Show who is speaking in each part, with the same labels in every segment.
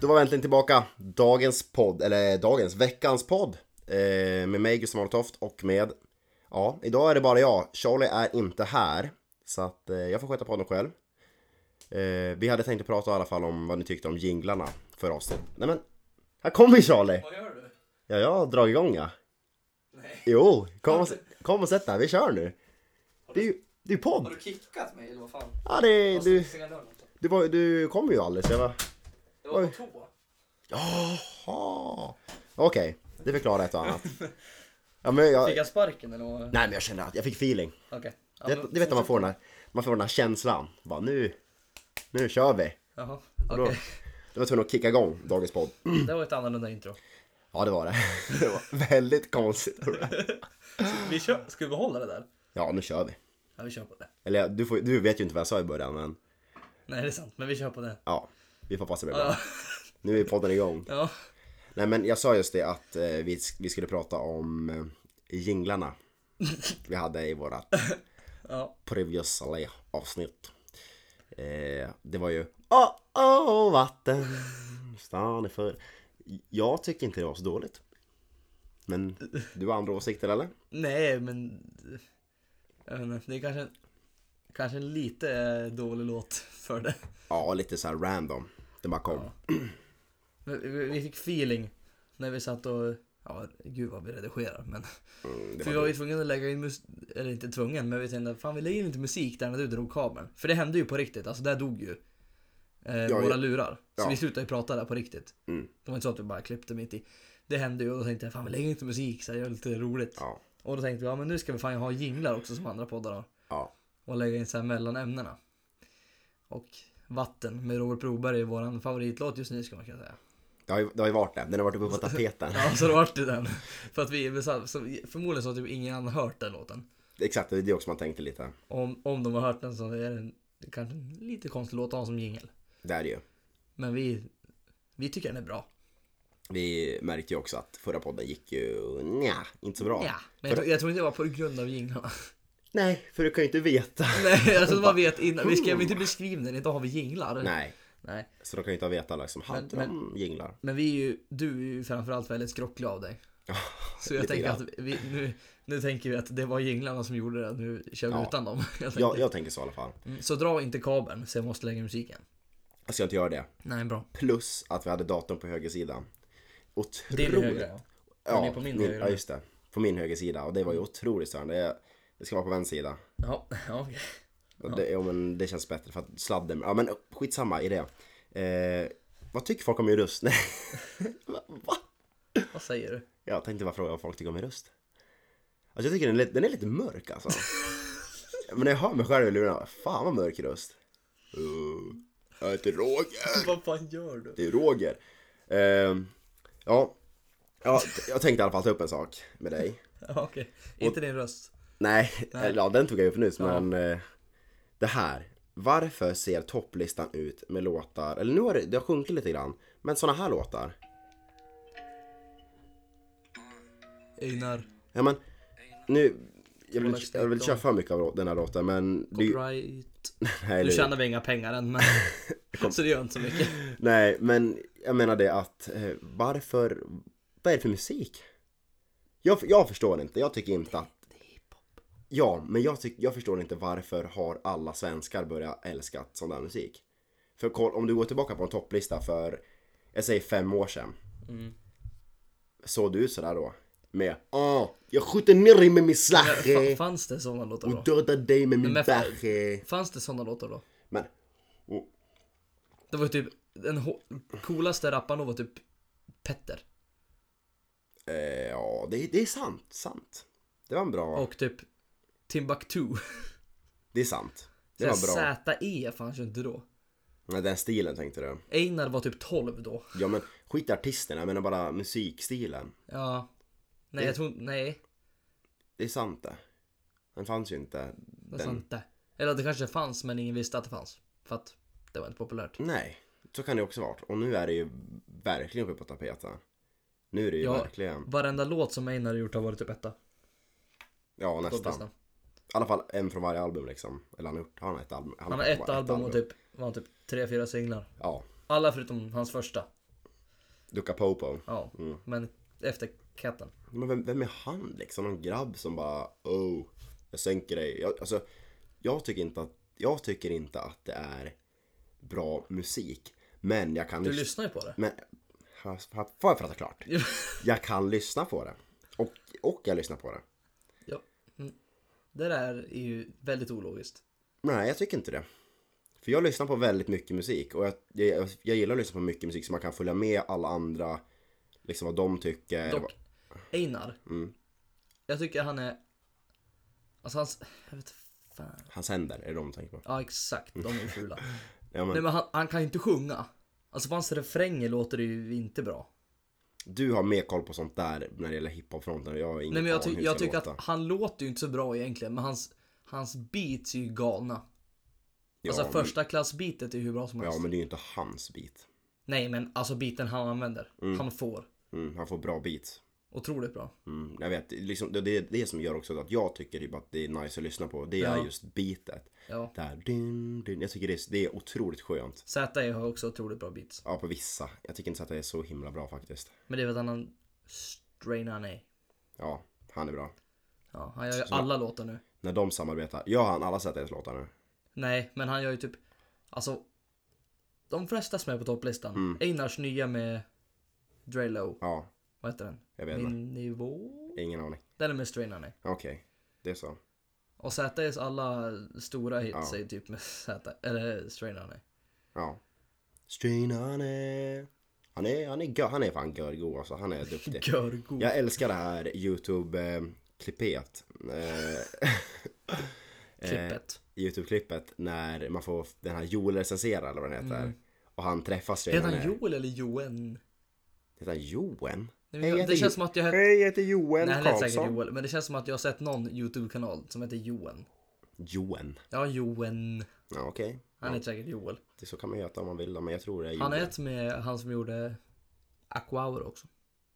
Speaker 1: Då var vi äntligen tillbaka. Dagens podd, eller dagens, veckans podd. Eh, med mig Gustav Martoft och med, ja, idag är det bara jag. Charlie är inte här. Så att eh, jag får sköta podden själv. Eh, vi hade tänkt att prata i alla fall om vad ni tyckte om jinglarna för avsnitt. Nej men, här kommer Charlie!
Speaker 2: Vad gör du?
Speaker 1: Ja, jag har dragit igång ja.
Speaker 2: Nej.
Speaker 1: Jo, kom och, kom och sätt dig, vi kör nu. Det är ju det är ju
Speaker 2: Har
Speaker 1: podd!
Speaker 2: du kickat mig eller vad fan?
Speaker 1: Ja, det,
Speaker 2: Vad
Speaker 1: du,
Speaker 2: ska jag göra något?
Speaker 1: du, var, du kom ju alldeles. Jag var...
Speaker 2: Jag var
Speaker 1: Oj.
Speaker 2: på tå.
Speaker 1: Jaha! Ah. Okej, det förklarar ett och annat. Ja, men jag,
Speaker 2: Fick jag sparken eller vad? Okej.
Speaker 1: nej men jag kände att jag fick feeling.
Speaker 2: Ja,
Speaker 1: Det,
Speaker 2: men-
Speaker 1: du vet när man får den här, man får den här känslan. Bara nu, nu kör vi.
Speaker 2: Jaha,
Speaker 1: Och då,
Speaker 2: okej.
Speaker 1: då var jag tvungen att kicka igång dagens podd.
Speaker 2: Det var ett annorlunda intro.
Speaker 1: Ja det var det. Det var väldigt konstigt.
Speaker 2: Vi kör. Ska vi behålla det där?
Speaker 1: Ja nu kör vi.
Speaker 2: Ja, vi kör på det.
Speaker 1: Eller du, får, du vet ju inte vad jag sa i början men
Speaker 2: Nej, det är sant, men vi kör på det.
Speaker 1: ja. Vi får passa det bra.
Speaker 2: Ja,
Speaker 1: Nu är podden igång.
Speaker 2: ja.
Speaker 1: Nej men jag sa just det att eh, vi, vi skulle prata om eh, jinglarna. Vi hade i vårat
Speaker 2: ja.
Speaker 1: previously avsnitt. Eh, det var ju Åh, åh, vatten Stan är för Jag tycker inte det var så dåligt. Men du har andra åsikter eller?
Speaker 2: Nej, men... Jag vet inte, det är kanske en, kanske en lite eh, dålig låt för det.
Speaker 1: Ja, lite så här random. Det bara kom.
Speaker 2: Men Vi, vi fick feeling när vi satt och... Ja, gud vad vi redigerar, men...
Speaker 1: Mm, det
Speaker 2: För vi
Speaker 1: var
Speaker 2: var ju tvungna att lägga in musik, eller inte tvungen, men vi tänkte fan vi lägger in lite musik där när du drog kabeln. För det hände ju på riktigt, alltså där dog ju eh, våra
Speaker 1: ja.
Speaker 2: lurar. Så
Speaker 1: Ja.
Speaker 2: vi slutade ju prata där på riktigt.
Speaker 1: Mm.
Speaker 2: Det var inte så att vi bara klippte mitt i. Det hände ju och då tänkte jag fan vi lägger in lite musik så det är lite roligt.
Speaker 1: ja,
Speaker 2: Och då tänkte vi ja men nu ska vi fan ha jinglar också som andra poddar har.
Speaker 1: ja,
Speaker 2: Och lägga in så här mellan ämnena. Och Vatten med Robert Broberg är våran favoritlåt just nu ska man kunna säga.
Speaker 1: det har ju, det har ju varit det. Den har varit uppe på tapeten.
Speaker 2: Ja, så då vart det den. För att vi, så, förmodligen så har typ ingen annan hört den låten.
Speaker 1: Exakt, det är det också man tänkte lite.
Speaker 2: Om, om de har hört den så är den kanske en lite konstig låt att ha som jingel.
Speaker 1: Det är det ju.
Speaker 2: Men vi, vi tycker den är bra.
Speaker 1: Vi märkte ju också att förra podden gick ju nja, inte så bra.
Speaker 2: Ja. Men jag,
Speaker 1: För-
Speaker 2: tror- jag tror inte det var på grund av jinglarna.
Speaker 1: Nej, för du kan ju inte veta.
Speaker 2: Nej, alltså man vet innan. Vi skrev inte beskrivningen, idag har vi jinglar.
Speaker 1: Nej,
Speaker 2: Nej.
Speaker 1: så då kan ju inte veta liksom. Hade
Speaker 2: Men-
Speaker 1: de jinglar?
Speaker 2: Men vi är ju, du är ju framförallt väldigt skrocklig av dig. Så jag
Speaker 1: lite
Speaker 2: tänker att
Speaker 1: grann.
Speaker 2: vi, nu, nu tänker vi att det var jinglarna som gjorde det, nu kör vi
Speaker 1: Ja.
Speaker 2: utan dem. helt
Speaker 1: Jag,
Speaker 2: enkelt.
Speaker 1: jag tänker så i alla fall.
Speaker 2: Mm, Så dra inte kabeln, så jag måste lägga musiken.
Speaker 1: Jag ska inte göra det.
Speaker 2: Nej, bra.
Speaker 1: Plus att vi hade datorn på höger sida.
Speaker 2: Det
Speaker 1: Otroligt.
Speaker 2: är det högra. ja. Den är på min högra.
Speaker 1: Ja, just det. På min höger sida. Och det var ju otroligt störande. Jag, det ska vara på vänster sida.
Speaker 2: Ja, ja okej.
Speaker 1: Och Det, ja, men det känns bättre för att sladden. Ja men skitsamma i det. Eh, vad tycker folk om min röst? Nej. Va? va?
Speaker 2: Vad säger du?
Speaker 1: Jag tänkte bara fråga vad folk tycker om min röst. Alltså jag tycker den är, lite- den är lite mörk alltså. men när jag hör mig själv i lurarna, fan vad mörk röst. Uh, jag heter Roger.
Speaker 2: Vad fan gör du?
Speaker 1: Det är Roger. Ehm, ja, ja, jag tänkte i alla fall ta upp en sak med dig.
Speaker 2: Ja, okej. Inte din röst.
Speaker 1: Nej, eller ja, den tog jag upp nyss, men eh, det här. Varför ser topplistan ut med låtar, eller nu har det, det har sjunkit lite grann, men såna här låtar.
Speaker 2: Einar.
Speaker 1: Ja men, nu, jag vill,
Speaker 2: Kolla
Speaker 1: inte- jag vill inte köra för mycket av lå- den här låten men... det är ju-
Speaker 2: Copyright.
Speaker 1: nej,
Speaker 2: Nu
Speaker 1: det är-
Speaker 2: tjänar vi inga pengar än men... så det gör inte så mycket.
Speaker 1: nej, men jag menar det att, eh, varför, vad är det för musik? Jag, jag förstår inte, jag tycker inte att
Speaker 2: Det är hiphop.
Speaker 1: Ja, men jag, tyck, jag förstår inte varför har alla svenskar börjat älska sån där musik? För koll, om du går tillbaka på en topplista för, jag säger fem år sedan.
Speaker 2: Mm.
Speaker 1: Såg du ut sådär då? Med ah, jag skjuter ner dig med min
Speaker 2: Fa-
Speaker 1: slache
Speaker 2: Fanns det sådana låtar
Speaker 1: och
Speaker 2: då?
Speaker 1: dödar dig med min
Speaker 2: men fan.
Speaker 1: bache.
Speaker 2: Fanns det sådana låtar då?
Speaker 1: Men, och,
Speaker 2: Det var ju typ... Den ho- coolaste rapparen var typ Petter.
Speaker 1: eh, ja, det, det är sant, sant. Det var en bra,
Speaker 2: Och typ Timbuktu.
Speaker 1: det är sant. Det
Speaker 2: Så
Speaker 1: var bra.
Speaker 2: här ZE fanns ju inte då.
Speaker 1: Nej, Den stilen tänkte du.
Speaker 2: Einar var typ 12 då.
Speaker 1: Ja men skit i artisterna, jag menar bara musikstilen.
Speaker 2: Ja. Nej, jag tror Nej,
Speaker 1: Det är sant det. Den fanns ju inte.
Speaker 2: det är sant det. Eller det kanske fanns men ingen visste att det fanns. För att det var inte populärt.
Speaker 1: Nej, så kan det också vara. Och nu är det ju verkligen uppe på tapeten. Nu är det ju
Speaker 2: Ja.
Speaker 1: verkligen,
Speaker 2: Varenda låt som Einar har gjort har varit typ etta.
Speaker 1: ja
Speaker 2: på
Speaker 1: nästan.
Speaker 2: listan.
Speaker 1: I alla fall en från varje album liksom. Eller han har gjort, har han ett album?
Speaker 2: Han har
Speaker 1: gjort
Speaker 2: ett
Speaker 1: bara
Speaker 2: album och typ, var typ tre, fyra singlar.
Speaker 1: Ja,
Speaker 2: Alla förutom hans första.
Speaker 1: Duka Popo.
Speaker 2: Ja, men efter katten.
Speaker 1: Men vem, vem är han liksom? Någon grabb som bara oh, jag sänker dig. Jag, alltså, jag tycker inte att, jag tycker inte att det är bra musik. Men jag kan
Speaker 2: Du
Speaker 1: lys-
Speaker 2: lyssnar ju på det.
Speaker 1: Men, ha- ha- får jag prata klart? Jag kan lyssna på det. Och, och jag lyssnar på det.
Speaker 2: ja. mm. Det där är ju väldigt ologiskt.
Speaker 1: Nej, jag tycker inte det. För jag lyssnar på väldigt mycket musik och jag, jag, jag gillar att lyssna på mycket musik så man kan följa med alla andra, liksom vad de tycker.
Speaker 2: Dock, Einar. Jag tycker han är... Alltså hans... Jag vet fan.
Speaker 1: Hans händer, är det de du tänker på?
Speaker 2: Ja exakt, de är fula.
Speaker 1: Ja, men,
Speaker 2: Nej men han, han kan ju inte sjunga. Alltså på hans refränger låter det ju inte bra.
Speaker 1: Du har mer koll på sånt där när det gäller hiphopfronten och jag har ingen
Speaker 2: Nej men jag,
Speaker 1: aning hur
Speaker 2: ty-
Speaker 1: det
Speaker 2: jag
Speaker 1: ska
Speaker 2: tycker
Speaker 1: låta.
Speaker 2: att han låter ju inte så bra egentligen men hans, hans beats är ju galna. alltså
Speaker 1: ja,
Speaker 2: första klassbeatet är ju hur bra som
Speaker 1: men,
Speaker 2: helst.
Speaker 1: Ja, men det är ju inte hans beat.
Speaker 2: Nej men alltså beaten han använder, han får.
Speaker 1: Mm, han får bra beats.
Speaker 2: Otroligt bra.
Speaker 1: Mm, jag vet, liksom, det det är det som gör också att jag tycker typ att det är nice att lyssna på. Det är
Speaker 2: Ja.
Speaker 1: just beatet.
Speaker 2: Ja.
Speaker 1: Där, dun, dun. Jag tycker det är, det är otroligt skönt.
Speaker 2: Z har också otroligt bra beats.
Speaker 1: Ja, på vissa. Jag tycker inte att det är så himla bra faktiskt.
Speaker 2: Men det är väl att han strainar nej.
Speaker 1: Ja, han är bra.
Speaker 2: Ja, han gör ju alla låtar nu.
Speaker 1: När de samarbetar, gör han alla Zs låtar nu?
Speaker 2: Nej, men han gör ju typ, alltså, de flesta som är på topplistan.
Speaker 1: Mm.
Speaker 2: Einars nya med Dre Low.
Speaker 1: Ja,
Speaker 2: Vad heter den?
Speaker 1: Jag vet
Speaker 2: Min nivå?
Speaker 1: ingen aning.
Speaker 2: Den är med Strain Honey.
Speaker 1: Okej, det är så.
Speaker 2: Och ZS alla stora hits är typ med Z, eller Strain Honey.
Speaker 1: Ja. Strain han är... Han är, han är, gö- han är fan görgo alltså, han är duktig.
Speaker 2: Görgo.
Speaker 1: Jag älskar det här YouTube-klippet. eh,
Speaker 2: Klippet.
Speaker 1: YouTube-klippet när man får den här Joel recensera eller vad den heter. Och han träffar Strain
Speaker 2: Mm. Heter
Speaker 1: han
Speaker 2: han
Speaker 1: är.
Speaker 2: Joel eller Joen?
Speaker 1: Heter han Joen? Hej,
Speaker 2: Nej, men jag, det
Speaker 1: heter
Speaker 2: känns
Speaker 1: Jo-
Speaker 2: som att jag hette...
Speaker 1: Hej, jag heter Joel
Speaker 2: Nej, han heter säkert
Speaker 1: Karlsson.
Speaker 2: Joel, men det känns som att jag har sett någon YouTube-kanal som heter Joen.
Speaker 1: Joen.
Speaker 2: Ja, Joen.
Speaker 1: Ja, okej.
Speaker 2: Han heter säkert Joel.
Speaker 1: Det så kan man heta om man vill, men jag tror det är
Speaker 2: Han
Speaker 1: Joel.
Speaker 2: är ett med han som gjorde Aquaur också.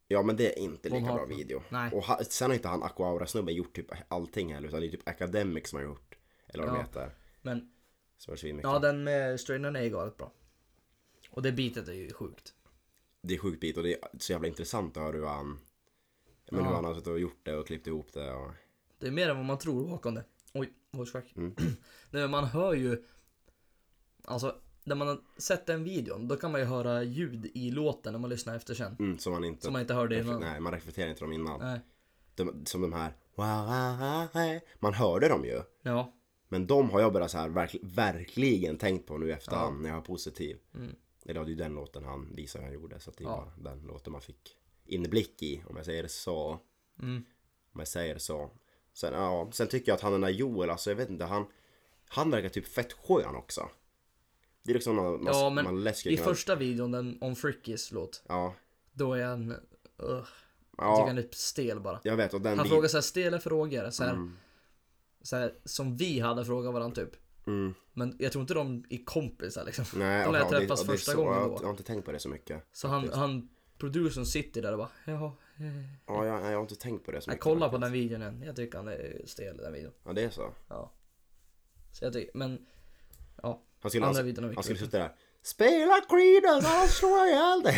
Speaker 1: Ja men det är inte lika
Speaker 2: Von
Speaker 1: bra
Speaker 2: Hartman.
Speaker 1: video.
Speaker 2: Nej.
Speaker 1: Och ha, sen har inte han Aquaura-snubben gjort typ allting heller utan det är typ Academic som har gjort. Eller vad de
Speaker 2: Ja.
Speaker 1: heter.
Speaker 2: Men
Speaker 1: Som är svinmycket.
Speaker 2: ja, den med Strain Honey är galet bra. Och det bitet är ju sjukt.
Speaker 1: Det är sjukt bit och det är så jävla intressant att höra hur han... ja, Men hur han har suttit och gjort det och klippt ihop det och...
Speaker 2: Det är mer än vad man tror bakom det. Oj, voicecrack. Nej men man hör ju, alltså när man har sett den videon, då kan man ju höra ljud i låten när man lyssnar efter sen.
Speaker 1: Mm, som man inte...
Speaker 2: Som man inte hörde innan.
Speaker 1: Nej, man reflekterar inte dem innan.
Speaker 2: Nej.
Speaker 1: De, som de här... Man hörde dem ju.
Speaker 2: Ja,
Speaker 1: Men de har jag börjat så här verkl, verkligen tänkt på nu i efterhand när jag var positiv. Eller ja, det är ju den låten han visade hur han gjorde. Så att det är
Speaker 2: Mm. Ja.
Speaker 1: bara den låten man fick inblick i. Om jag säger det så.
Speaker 2: Mm.
Speaker 1: Om jag säger det så. Sen, ja, sen tycker jag att han den där Joel, alltså jag vet inte, han, han verkar typ fett skön också. Det är liksom någon, man,
Speaker 2: ja
Speaker 1: ja,
Speaker 2: men
Speaker 1: man lätt skulle
Speaker 2: i
Speaker 1: kunna...
Speaker 2: första videon, den om Frickys låt,
Speaker 1: Ja,
Speaker 2: då är han, uh, jag tycker
Speaker 1: ja
Speaker 2: han är lite stel bara.
Speaker 1: jag vet och den
Speaker 2: Han
Speaker 1: bit-
Speaker 2: frågar så här stela frågor, så här, så här, som vi hade frågat varandra typ.
Speaker 1: Mm.
Speaker 2: Men jag tror inte de är kompisar liksom.
Speaker 1: Nej,
Speaker 2: de lär
Speaker 1: och- och det-
Speaker 2: träffas
Speaker 1: och det är
Speaker 2: första
Speaker 1: så,
Speaker 2: gången
Speaker 1: jag,
Speaker 2: då.
Speaker 1: jag har inte tänkt på det så mycket.
Speaker 2: Så han, han producern sitter där och bara Jaha, eh.
Speaker 1: Ja, jag, jag har inte tänkt på det så
Speaker 2: jag
Speaker 1: mycket.
Speaker 2: kollar på den videon än. Jag tycker han är stel i den videon.
Speaker 1: Ja, det är så.
Speaker 2: Ja. Så jag tycker, men ja.
Speaker 1: Han skulle,
Speaker 2: Andra
Speaker 1: han,
Speaker 2: videon har vi
Speaker 1: han skulle
Speaker 2: klippt.
Speaker 1: sitta där. Spela Creedence, annars slår jag ihjäl dig.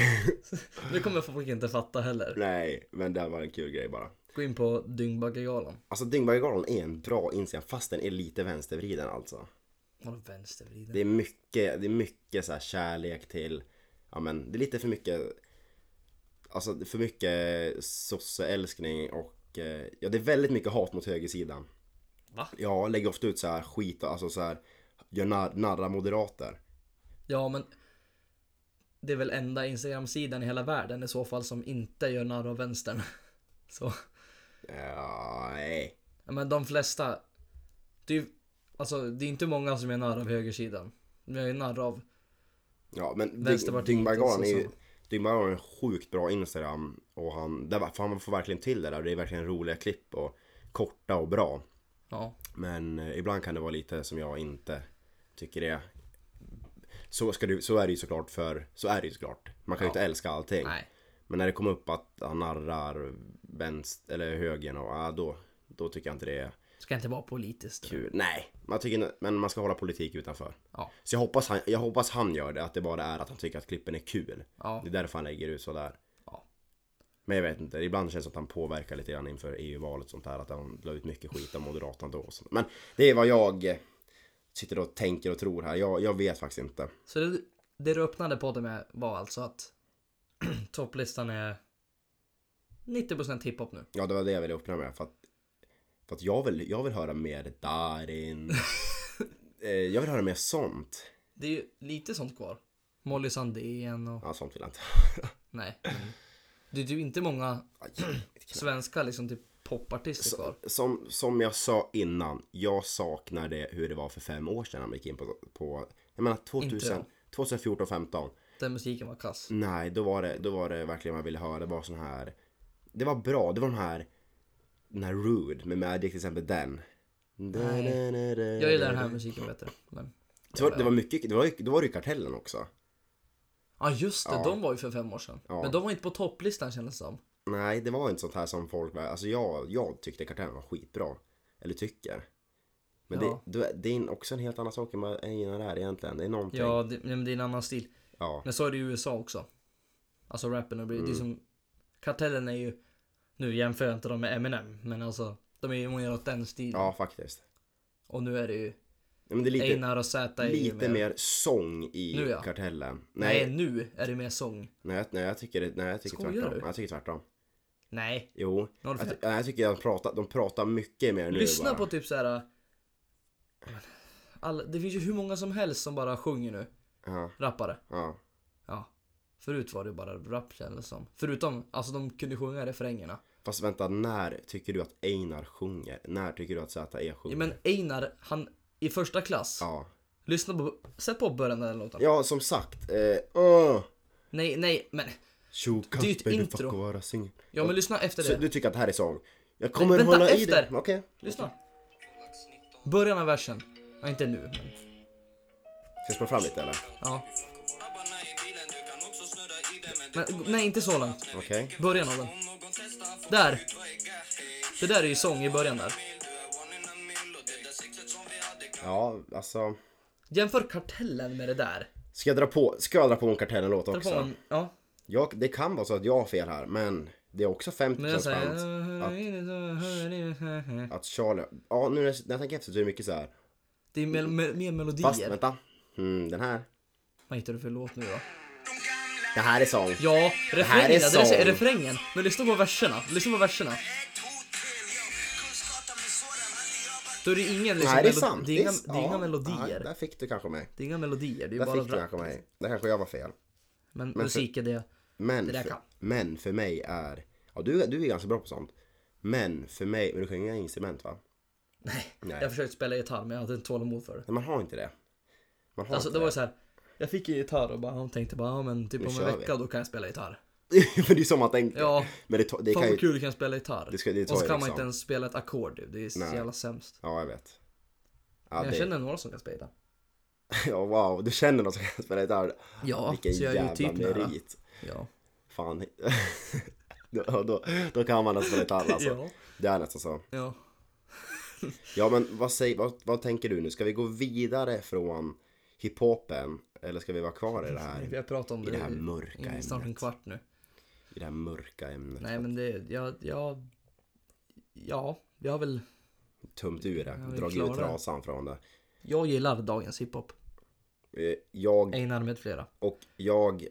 Speaker 2: Nu kommer folk inte fatta heller.
Speaker 1: Nej, men det var en kul grej bara.
Speaker 2: Gå in på Dyngbaggegalan.
Speaker 1: Alltså Dyngbaggegalan är en bra Instagram fast den är lite vänstervriden alltså.
Speaker 2: Har du vänstervriden?
Speaker 1: Det är mycket, det är mycket så här kärlek till, ja men det är lite för mycket, alltså för mycket sosseälskning och eh, ja det är väldigt mycket hat mot högersidan.
Speaker 2: Va?
Speaker 1: Ja, lägger ofta ut så här skit och alltså så här gör narr, narra moderater.
Speaker 2: Ja men. Det är väl enda instagramsidan i hela världen i så fall som inte gör narr av vänstern. Så.
Speaker 1: Ja, nej.
Speaker 2: Ja, men de flesta. Det är ju, alltså det är inte många som är narr av högersidan. Men jag är narr av
Speaker 1: Ja men
Speaker 2: Vänsterpartiet liksom.
Speaker 1: Dyngbaggegalan
Speaker 2: och
Speaker 1: är ju
Speaker 2: sossarna.
Speaker 1: Dyngbaggegalan är en sjukt bra Instagram och han, där, var- för han får verkligen till det där och det är verkligen roliga klipp och korta och bra.
Speaker 2: Ja.
Speaker 1: Men eh, ibland kan det vara lite som jag inte tycker är så, ska du, så är det ju såklart för, så är det ju såklart. Man kan ju inte älska allting.
Speaker 2: Nej.
Speaker 1: Men när det kommer upp att han narrar vänster, eller högern och ah, då, då tycker jag inte det är
Speaker 2: Ska inte vara politiskt.
Speaker 1: Kul. Nej, man tycker, men man ska hålla politik utanför.
Speaker 2: Ja.
Speaker 1: Så jag hoppas, han, jag hoppas han gör det, att det bara är att han tycker att klippen är kul.
Speaker 2: Ja.
Speaker 1: Det är därför han lägger ut sådär.
Speaker 2: Ja.
Speaker 1: Men jag vet inte, ibland känns det att han påverkar lite grann inför EU-valet och sånt där. Att han la ut mycket skit om Moderaterna då. Och sånt. Men det är vad jag eh, sitter och tänker och tror här. Jag, jag vet faktiskt inte.
Speaker 2: Så det, det du öppnade podden med var alltså att topplistan är 90% hiphop nu.
Speaker 1: Ja, det var det jag ville öppna med. För att, för att jag, vill, jag vill höra mer Darin. Eh, jag vill höra mer sånt.
Speaker 2: Det är ju lite sånt kvar. Molly Sandén och...
Speaker 1: Ja, sånt vill jag inte.
Speaker 2: Nej. men Det är ju inte många
Speaker 1: Aj,
Speaker 2: svenska liksom typ popartister kvar.
Speaker 1: som, som jag sa innan, jag saknar det hur det var för fem år sedan när man gick in på, på jag menar 2000,
Speaker 2: Inte
Speaker 1: 2014, 15
Speaker 2: Den musiken var kass.
Speaker 1: Nej, då var, det, då var det verkligen man ville höra. Det var sån här, det var bra, det var den här, den här Rude med Magic till exempel, den. Mm,
Speaker 2: Jag gillar den här musiken bättre. Men...
Speaker 1: Det var, det var mycket, det var, ju- då var det ju Kartellen också.
Speaker 2: Ja just det, de var ju för fem år sedan. Men de var inte på topplistan kändes det som.
Speaker 1: Nej, det var inte sånt här som folk, var- alltså jag, jag tyckte Kartellen var skitbra. Eller tycker. Men
Speaker 2: Ja.
Speaker 1: det, då- det är också en helt annan sak än vad jag gillar där egentligen. Det är någonting.
Speaker 2: Ja, det, men det är en annan stil.
Speaker 1: ja.
Speaker 2: Men så är det i USA också. Alltså rappen och
Speaker 1: Mm.
Speaker 2: blir, det är som Kartellen är ju Nu jämför jag inte dem med Eminem men alltså De är ju mer åt den stilen
Speaker 1: Ja, faktiskt.
Speaker 2: Och nu är det ju
Speaker 1: Ja, Men det är lite,
Speaker 2: Einar och Z är ju
Speaker 1: lite mer sång i
Speaker 2: Nu, ja.
Speaker 1: Kartellen.
Speaker 2: Nej.
Speaker 1: Nej,
Speaker 2: nu är det mer sång
Speaker 1: nej, jag- nej, jag tycker, det- nej, jag tycker
Speaker 2: Skojar
Speaker 1: tvärtom.
Speaker 2: du?
Speaker 1: Nej, Jag tycker tvärtom.
Speaker 2: Nej
Speaker 1: Jo.
Speaker 2: Nu har du
Speaker 1: Jag, ty-
Speaker 2: fel.
Speaker 1: nej, jag tycker att de pratar, de pratar mycket mer nu
Speaker 2: Lyssna
Speaker 1: bara.
Speaker 2: på typ såhär alla, Det finns ju hur många som helst som bara sjunger nu
Speaker 1: Ja,
Speaker 2: Rappare
Speaker 1: ja.
Speaker 2: Ja Förut var det ju bara rap kändes som Förutom, alltså de kunde sjunga refrängerna
Speaker 1: Fast vänta, när tycker du att Einar sjunger? När tycker du att Z.E. sjunger?
Speaker 2: ja, Men Einar, han i första klass
Speaker 1: Ja.
Speaker 2: Lyssna på, sätt på början av den låten
Speaker 1: Ja, som sagt. Eh, uh.
Speaker 2: Nej, nej, men
Speaker 1: Tjokas
Speaker 2: Det är ett
Speaker 1: baby
Speaker 2: intro.
Speaker 1: fuck och vara sing.
Speaker 2: Ja men lyssna efter
Speaker 1: Så
Speaker 2: det.
Speaker 1: du tycker att det här är sång? Jag kommer
Speaker 2: vänta,
Speaker 1: hålla i
Speaker 2: efter.
Speaker 1: det. Okej.
Speaker 2: Lyssna. Början av versen. Ja, inte nu men.
Speaker 1: Ska jag spela fram lite eller?
Speaker 2: Ja.
Speaker 3: Grabbarna i bilen, du kan också snurra i den men
Speaker 2: Men, nej, inte så långt.
Speaker 1: Okej.
Speaker 2: Början av den.
Speaker 3: om någon testar får
Speaker 2: Där.
Speaker 3: vad är gahej?
Speaker 2: Det där är ju sång i början där.
Speaker 3: Mil, du är one in a mil och det där sexet som vi hade kan
Speaker 1: Ja, alltså.
Speaker 2: Jämför Kartellen med det där.
Speaker 1: Ska jag dra på, ska jag dra på en Kartellen-låt
Speaker 2: Dra på
Speaker 1: också?
Speaker 2: en- Ja.
Speaker 1: Jag, det kan vara så att jag har fel här, men det är också 50%
Speaker 2: Men jag säger...
Speaker 1: chans att Charlie... Ja, nu när jag, när jag tänker efter så är det mycket så här.
Speaker 2: Det är mel mel mer
Speaker 1: Fast
Speaker 2: melodier.
Speaker 1: vänta. Mm, den här.
Speaker 2: Vad hittar du för låt nu då?
Speaker 1: Det här är sång.
Speaker 2: Ja,
Speaker 1: här är
Speaker 2: refrängen. Det där
Speaker 1: sång.
Speaker 2: är refrängen. Men lyssna på verserna. Lyssna på verserna. Då är det ingen
Speaker 1: det
Speaker 2: liksom...
Speaker 1: här är
Speaker 2: melo-
Speaker 1: sant.
Speaker 2: Det är inga,
Speaker 1: s-
Speaker 2: det är inga
Speaker 1: ja,
Speaker 2: melodier.
Speaker 1: nej, där fick du kanske mig.
Speaker 2: Det är inga melodier. Det är ju
Speaker 1: Där
Speaker 2: bara
Speaker 1: fick du kanske
Speaker 2: rap.
Speaker 1: mig. Där kanske jag var fel.
Speaker 2: Men,
Speaker 1: för-
Speaker 2: musik är det.
Speaker 1: Men,
Speaker 2: Det där
Speaker 1: för,
Speaker 2: kan.
Speaker 1: men för mig är... Ja, du, du är ganska bra på sånt. Men för mig... Men du sjunger inga instrument va?
Speaker 2: Nej.
Speaker 1: Nej.
Speaker 2: Jag försökte spela gitarr men jag hade inte tålamod för det.
Speaker 1: Nej, man har inte det. Man har
Speaker 2: Alltså
Speaker 1: inte
Speaker 2: det var ju så här. Jag fick en gitarr och bara, hon tänkte bara, ja men typ om en
Speaker 1: kör vi.
Speaker 2: vecka då kan jag spela gitarr.
Speaker 1: det. för det är som man tänker.
Speaker 2: Ja.
Speaker 1: Men det, to- det
Speaker 2: Fan
Speaker 1: kan ju...
Speaker 2: vad kul du kan spela gitarr.
Speaker 1: Det ska- det tar
Speaker 2: och så
Speaker 1: ju
Speaker 2: kan man
Speaker 1: liksom-
Speaker 2: inte ens spela ett ackord du. det är så
Speaker 1: Nej.
Speaker 2: jävla sämst.
Speaker 1: Ja, jag vet. Ja,
Speaker 2: Men jag
Speaker 1: det,
Speaker 2: känner några som kan spela gitarr.
Speaker 1: ja, wow, du känner någon som kan spela gitarr.
Speaker 2: Ja,
Speaker 1: Vilken
Speaker 2: så jag är
Speaker 1: jävla
Speaker 2: ju typ nära.
Speaker 1: merit.
Speaker 2: Ja.
Speaker 1: Fan. då, då, då kan man nästan lite alla alltså.
Speaker 2: Ja.
Speaker 1: Det är nästan så.
Speaker 2: ja.
Speaker 1: Ja men vad, säger, vad, vad tänker du nu? Ska vi gå vidare från hiphopen? Eller ska vi vara kvar i det
Speaker 2: Vi
Speaker 1: här,
Speaker 2: har pratat om
Speaker 1: i
Speaker 2: det,
Speaker 1: det här mörka
Speaker 2: i snart en
Speaker 1: ämnet?
Speaker 2: kvart nu.
Speaker 1: I det här mörka ämnet?
Speaker 2: Nej men det, jag, jag, ja, jag har väl,
Speaker 1: Tömt ur det,
Speaker 2: vi
Speaker 1: dragit
Speaker 2: klarar
Speaker 1: ut
Speaker 2: det.
Speaker 1: trasan från det.
Speaker 2: jag gillar dagens hiphop.
Speaker 1: Eh, Jag,
Speaker 2: Einar med flera.
Speaker 1: och jag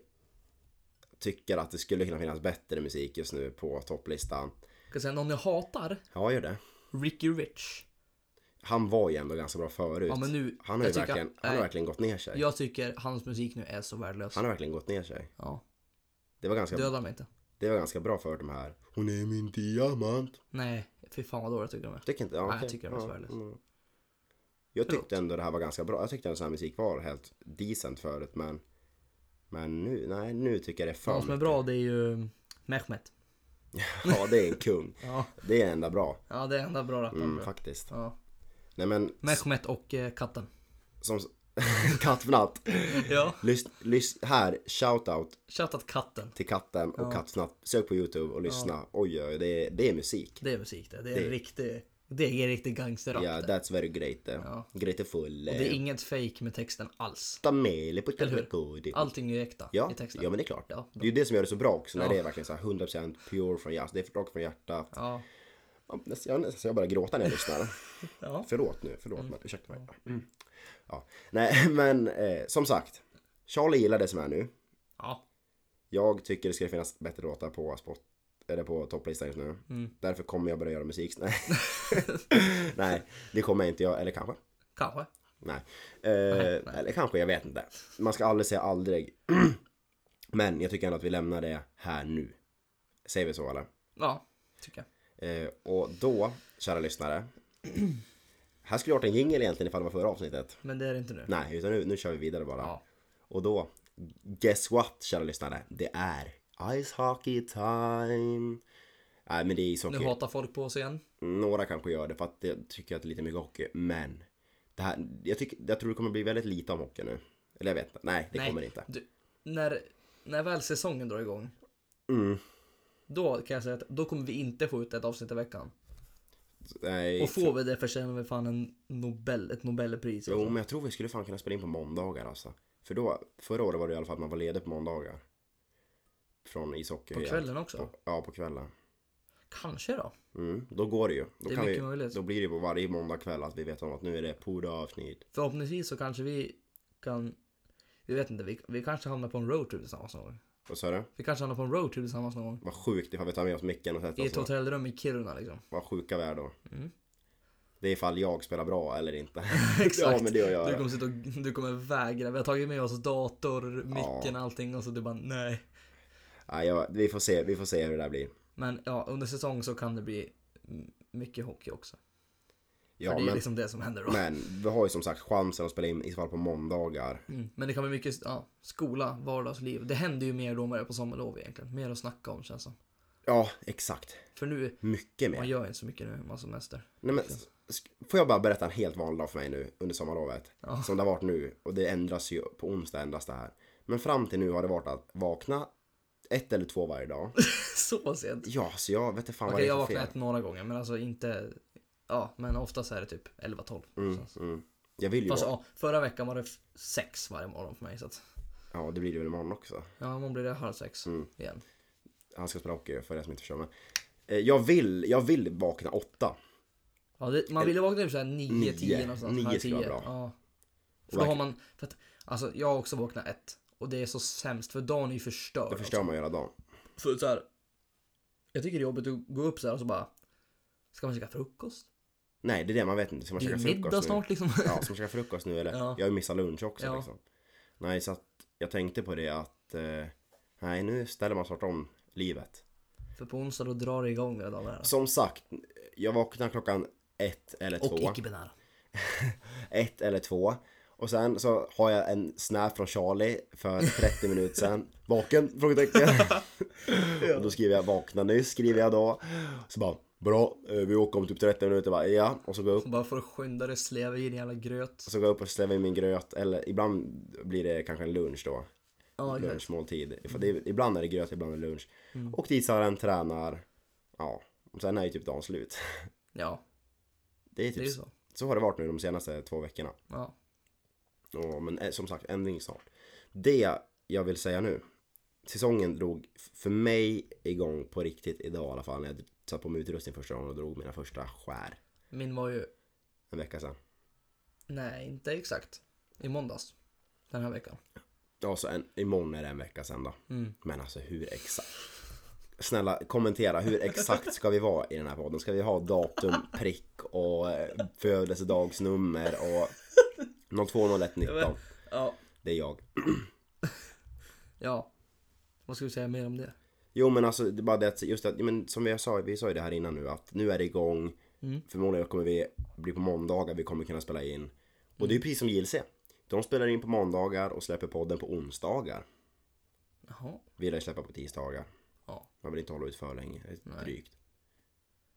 Speaker 1: tycker att det skulle kunna finnas bättre musik just nu på topplistan.
Speaker 2: Ska säga någon jag hatar?
Speaker 1: Ja, gör det.
Speaker 2: Ricky Rich.
Speaker 1: Han var ju ändå ganska bra förut.
Speaker 2: Ja, men nu-
Speaker 1: han har ju
Speaker 2: jag tycker-
Speaker 1: verkligen, han har
Speaker 2: nej.
Speaker 1: verkligen gått ner sig.
Speaker 2: Jag tycker hans musik nu är så värdelös.
Speaker 1: Han har verkligen gått ner sig.
Speaker 2: Ja.
Speaker 1: Det var ganska,
Speaker 2: Döda mig inte.
Speaker 1: det var ganska bra för de här. Hon är min diamant.
Speaker 2: Nej, fy fan vad dåligt tycker de är.
Speaker 1: Tycker inte? Ja,
Speaker 2: Nej,
Speaker 1: okej.
Speaker 2: jag tycker det var
Speaker 1: Ja,
Speaker 2: så värdelöst.
Speaker 1: mm. Jag
Speaker 2: Förlåt.
Speaker 1: tyckte ändå det här var ganska bra. Jag tyckte att sån här musik var helt decent förut men Men nu, nej nu tycker jag det är för
Speaker 2: Någon som är bra det är ju Mehmet.
Speaker 1: Ja det är en kung.
Speaker 2: Ja,
Speaker 1: Det är enda bra.
Speaker 2: ja det är enda bra rapparen.
Speaker 1: Mm,
Speaker 2: tror jag.
Speaker 1: faktiskt.
Speaker 2: ja.
Speaker 1: Nej men
Speaker 2: Mehmet och eh, katten.
Speaker 1: som Kattfnatt.
Speaker 2: Ja.
Speaker 1: Lys, lys, här, shoutout
Speaker 2: Shoutout katten.
Speaker 1: till katten och Kattfnatt. Sök på Youtube och lyssna. Oj oj, det är, det är musik.
Speaker 2: Det är musik det. Det är en riktig Det är riktigt gangsterrap.
Speaker 1: Ja,
Speaker 2: det.
Speaker 1: that's very great. eh.
Speaker 2: Ja.
Speaker 1: Grateful.
Speaker 2: Och det är inget fake med texten alls.
Speaker 1: Tamele på
Speaker 2: Eller hur?
Speaker 1: Tacody.
Speaker 2: Allting är äkta
Speaker 1: Ja,
Speaker 2: i texten.
Speaker 1: ja men det är klart.
Speaker 2: Ja.
Speaker 1: Det är ju det som gör det så bra också när
Speaker 2: Ja.
Speaker 1: det är verkligen så här 100% pure från hjärtat. Det är rakt från hjärtat.
Speaker 2: Ja.
Speaker 1: Ja, nästan- Jag, nästan- jag börjar gråta när jag lyssnar.
Speaker 2: Ja.
Speaker 1: Förlåt nu, förlåt men ursäkta mig. Mm. Ja. Nej men eh, som sagt. Charlie gillar det som är nu.
Speaker 2: ja.
Speaker 1: Jag tycker det ska finnas bättre låtar på spot, eller på topplistan just nu. Därför kommer jag börja göra musik. Nej. nej, det kommer jag inte jag, eller kanske.
Speaker 2: Kanske.
Speaker 1: Nej. Eh, Eller kanske, jag vet inte. Man ska aldrig säga aldrig. Men jag tycker ändå att vi lämnar det här nu. Säger vi så eller?
Speaker 2: Ja, tycker jag.
Speaker 1: Eh, och då, kära lyssnare. Här skulle jag ha gjort en jingel egentligen ifall det var förra avsnittet.
Speaker 2: Men det är det inte nu.
Speaker 1: Nej, utan nu, nu kör vi vidare bara.
Speaker 2: Ja.
Speaker 1: Och då, guess what kära lyssnare? Det är Ice Hockey Time! Nej men det är
Speaker 2: Nu
Speaker 1: ishockey.
Speaker 2: hatar folk på oss igen.
Speaker 1: Några kanske gör det för att jag tycker att det är lite mycket hockey. Men det här, jag, tycker, jag tror det kommer bli väldigt lite om hockey nu. Eller jag vet inte. Nej, det
Speaker 2: Nej,
Speaker 1: kommer det inte.
Speaker 2: Du, när, när väl säsongen drar igång.
Speaker 1: Mm.
Speaker 2: Då kan jag säga att då kommer vi inte få ut ett avsnitt i veckan.
Speaker 1: Nej.
Speaker 2: Och får vi det förtjänar vi fan en Nobel, ett Nobelpris.
Speaker 1: Jo, men jag tror vi skulle fan kunna spela in på måndagar alltså. För då, förra året var det i alla fall att man var ledig på måndagar. Från ishockey.
Speaker 2: På kvällen också?
Speaker 1: På, ja, på kvällen.
Speaker 2: Kanske då.
Speaker 1: Mm, då går det ju. Då,
Speaker 2: Det är
Speaker 1: kan vi,
Speaker 2: mycket möjligt.
Speaker 1: då blir det ju på varje måndag kväll att vi vet om att nu är det poddavsnitt.
Speaker 2: Förhoppningsvis så kanske vi kan... Vi vet inte, vi, vi kanske hamnar på en roadtrip tillsammans någon gång.
Speaker 1: Vad sa du?
Speaker 2: Vi kanske hamnar på en roadtrip tillsammans någon gång.
Speaker 1: Vad sjukt ifall vi tar med oss micken och
Speaker 2: I
Speaker 1: sätter
Speaker 2: ett
Speaker 1: oss ner.
Speaker 2: hotellrum i Kiruna liksom.
Speaker 1: Vad sjuka vi är då.
Speaker 2: Mm.
Speaker 1: Det är ifall jag spelar bra eller inte.
Speaker 2: Exakt.
Speaker 1: Ja men det gör jag.
Speaker 2: Du kommer, sitta och, du kommer vägra. Vi har tagit med oss dator, micken, allting och så du bara nej.
Speaker 1: Ja, jag, vi, får se, vi får se hur det där blir.
Speaker 2: Men ja, under säsong så kan det bli m- mycket hockey också.
Speaker 1: Ja,
Speaker 2: För det är
Speaker 1: men,
Speaker 2: liksom det som händer då.
Speaker 1: men vi har ju som sagt chansen att spela in i så fall på måndagar.
Speaker 2: Mm. Men det kan bli mycket ja, skola, vardagsliv. Det händer ju mer då när det är på sommarlov egentligen. Mer att snacka om känns som.
Speaker 1: Ja, exakt.
Speaker 2: För nu,
Speaker 1: Mycket mer.
Speaker 2: man gör ju inte så mycket nu när man har semester.
Speaker 1: Nej, men, sk- får jag bara berätta en helt vanlig dag för mig nu under sommarlovet?
Speaker 2: Ja.
Speaker 1: Som det har varit nu och det ändras ju, på onsdag ändras det här. Men fram till nu har det varit att vakna ett eller två varje dag.
Speaker 2: så sent.
Speaker 1: Ja, så jag vet inte fan
Speaker 2: Okej,
Speaker 1: vad det
Speaker 2: jag
Speaker 1: är för
Speaker 2: vaknade
Speaker 1: fel.
Speaker 2: ett några gånger, men alltså inte... Ja, men oftast är det typ 11-12. känns det.
Speaker 1: Mm. Jag vill ju
Speaker 2: Fast
Speaker 1: vak-
Speaker 2: ja, förra veckan var det f- sex varje morgon för mig. Så att,
Speaker 1: Ja, det blir det väl imorgon också.
Speaker 2: ja, man blir det halv sex
Speaker 1: Mm.
Speaker 2: igen.
Speaker 1: Han ska spela hockey för er som inte förstår. Men, eh, jag, vill, jag vill vakna åtta.
Speaker 2: Ja, det, man ville vakna upp såhär nio,
Speaker 1: Nio.
Speaker 2: tio någonstans.
Speaker 1: Nio
Speaker 2: halv
Speaker 1: skulle vara
Speaker 2: tio.
Speaker 1: bra.
Speaker 2: Ja. För
Speaker 1: Och
Speaker 2: då har man... För att, alltså, jag har också vaknat ett. Och det är så sämst, för dagen är ju förstörd.
Speaker 1: Då förstör man ju hela dagen.
Speaker 2: För så här, jag tycker det är jobbigt att gå upp så här och så bara... Ska man käka frukost?
Speaker 1: Nej, det är det man vet inte. Ska man
Speaker 2: Det
Speaker 1: käka
Speaker 2: är ju
Speaker 1: frukost nu?
Speaker 2: middag snart liksom.
Speaker 1: Ja, ska man käka frukost nu eller?
Speaker 2: Ja.
Speaker 1: Jag har ju missat lunch också
Speaker 2: Ja.
Speaker 1: liksom. Nej, så att jag tänkte på det att eh, nej, nu ställer man snart om livet.
Speaker 2: För på onsdag då drar det igång hela dagen. här.
Speaker 1: Som sagt, jag vaknar klockan ett eller
Speaker 2: Och
Speaker 1: två.
Speaker 2: icke-binära.
Speaker 1: Ett eller två. Och sen så har jag en snap från Charlie för 30 minuter sedan. Vaken? Frågetecken. Och då skriver jag vakna nu, skriver jag då. Så bara, bra, eh, vi åker om typ 30 minuter. Bara, ja, och så går jag upp.
Speaker 2: Bara för att skynda dig, slever i din jävla gröt.
Speaker 1: Så går jag upp och släver i min gröt, eller ibland blir det kanske en lunch då.
Speaker 2: Ja, exakt. Mm.
Speaker 1: Lunchmåltid. För det, är- ibland är det gröt, ibland är det lunch. Och tisaren tränar. Ja, och sen är ju typ dagen slut.
Speaker 2: Ja,
Speaker 1: Det är typ
Speaker 2: det är ju
Speaker 1: så.
Speaker 2: så.
Speaker 1: har det varit nu de senaste två veckorna.
Speaker 2: Ja.
Speaker 1: Ja, men eh, som sagt, ändring snart. Det jag vill säga nu. Säsongen drog f- för mig igång på riktigt idag i alla fall. När jag satt på min utrustning första gången och drog mina första skär.
Speaker 2: Min var ju,
Speaker 1: En vecka sedan.
Speaker 2: nej inte exakt, i måndags. Den här veckan.
Speaker 1: Ja, så en, imorgon är det en vecka sen då.
Speaker 2: Mm.
Speaker 1: Men alltså hur exakt? Snälla kommentera, hur exakt ska vi vara i den här podden? Ska vi ha datum, prick och eh, födelsedagsnummer och 020119?
Speaker 2: Ja.
Speaker 1: Det är jag.
Speaker 2: Ja. Vad ska vi säga mer om det?
Speaker 1: Jo men alltså det är bara det att just att, ja, men som vi sa, vi sa ju det här innan nu att nu är det igång. Förmodligen kommer vi bli på måndagar vi kommer kunna spela in. Och det är ju precis som JLC. De spelar in på måndagar och släpper podden på onsdagar.
Speaker 2: Jaha.
Speaker 1: Vi lär släppa på tisdagar.
Speaker 2: Ja.
Speaker 1: Man vill inte hålla ut för länge, det är drygt.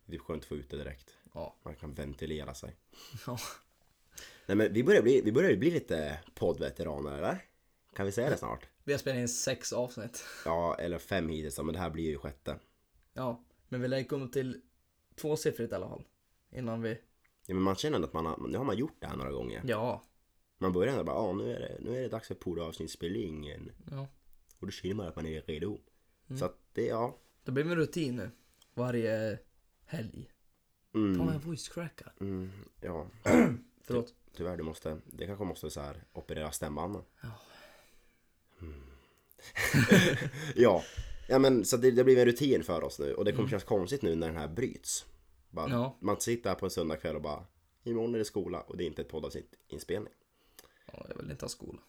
Speaker 1: Det är typ skönt att få ut det direkt.
Speaker 2: Ja.
Speaker 1: Man kan ventilera sig.
Speaker 2: Ja.
Speaker 1: Nej men vi börjar, bli, vi börjar ju bli lite poddveteraner eller? Kan vi säga det snart?
Speaker 2: Vi har spelat in sex avsnitt.
Speaker 1: Ja, eller fem hittills då, men det här blir ju sjätte.
Speaker 2: Ja. Men vi lär komma upp till tvåsiffrigt i alla fall. innan vi...
Speaker 1: Ja, men man känner att man har, nu har man gjort det här några gånger.
Speaker 2: Ja.
Speaker 1: Man börjar ändå bara, ja nu är det, nu är det dags för poddavsnittsspelningen.
Speaker 2: ja.
Speaker 1: Och då känner man att man är redo.
Speaker 2: Mm.
Speaker 1: Så att det, ja.
Speaker 2: Det blir en rutin nu. Varje helg. Ta
Speaker 1: Mm,
Speaker 2: med en voice cracker.
Speaker 1: mm, typ. ja.
Speaker 2: Förlåt.
Speaker 1: Tyvärr, du måste, det kanske måste så här operera stämbanden.
Speaker 2: Ja.
Speaker 1: Mm. ja. ja, men så det, det blir en rutin för oss nu och det kommer kännas konstigt nu när den här bryts. Bara,
Speaker 2: Mm. Ja.
Speaker 1: Man sitter här på en söndagkväll och bara imorgon är det skola och det är inte ett poddavsnitt inspelning.
Speaker 2: Ja, jag vill inte ha skola.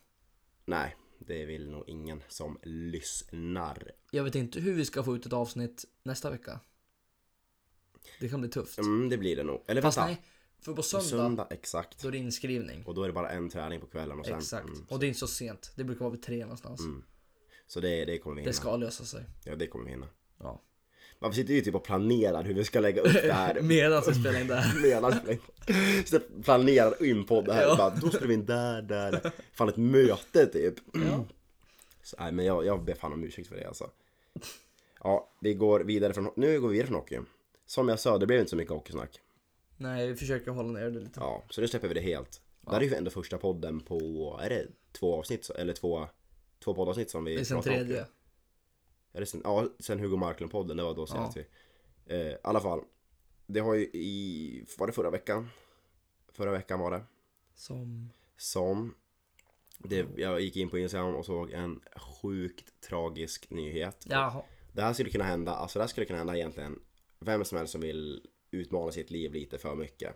Speaker 1: Nej, det vill nog ingen som lyssnar.
Speaker 2: Jag vet inte hur vi ska få ut ett avsnitt nästa vecka. Det kan bli tufft.
Speaker 1: Mm, det blir det nog. Eller
Speaker 2: Fast
Speaker 1: vänta,
Speaker 2: nej, för på söndag,
Speaker 1: söndag exakt.
Speaker 2: då är det inskrivning.
Speaker 1: Och då är det bara en träning på kvällen och sen.
Speaker 2: Exakt.
Speaker 1: Mm,
Speaker 2: Och det är inte så sent. Det brukar vara vid tre någonstans.
Speaker 1: så det, det kommer vi hinna.
Speaker 2: Det ska lösa sig.
Speaker 1: Ja, det kommer vi hinna.
Speaker 2: Ja.
Speaker 1: Man sitter ju typ och planerar hur vi ska lägga upp det här.
Speaker 2: Medan vi spelar in det här.
Speaker 1: menar med. Så jag planerar in på det här.
Speaker 2: Ja.
Speaker 1: Bara, då spelar vi in där, där, där. Fan ett möte typ. Så, nej, men jag, jag ber fan om ursäkt för det alltså. Ja, vi går vidare från, nu går vi vidare från hockey. Som jag sa, det blev inte så mycket hockeysnack.
Speaker 2: Nej, vi försöker hålla ner det lite.
Speaker 1: Ja, så nu släpper vi det helt. Det här är ju ändå första podden på, är det två avsnitt, så- eller två, två poddavsnitt som vi
Speaker 2: Det är sen
Speaker 1: pratar om?
Speaker 2: tredje.
Speaker 1: Är det sen, ja, sen Hugo Marklund-podden, det var då senast
Speaker 2: Ja.
Speaker 1: vi. Eh, I alla fall, det har ju i, var det förra veckan? Förra veckan var det.
Speaker 2: Som...
Speaker 1: som det, jag gick in på Instagram och såg en sjukt tragisk nyhet.
Speaker 2: Jaha.
Speaker 1: Det här skulle kunna hända, alltså det här skulle kunna hända egentligen vem som helst som vill utmana sitt liv lite för mycket.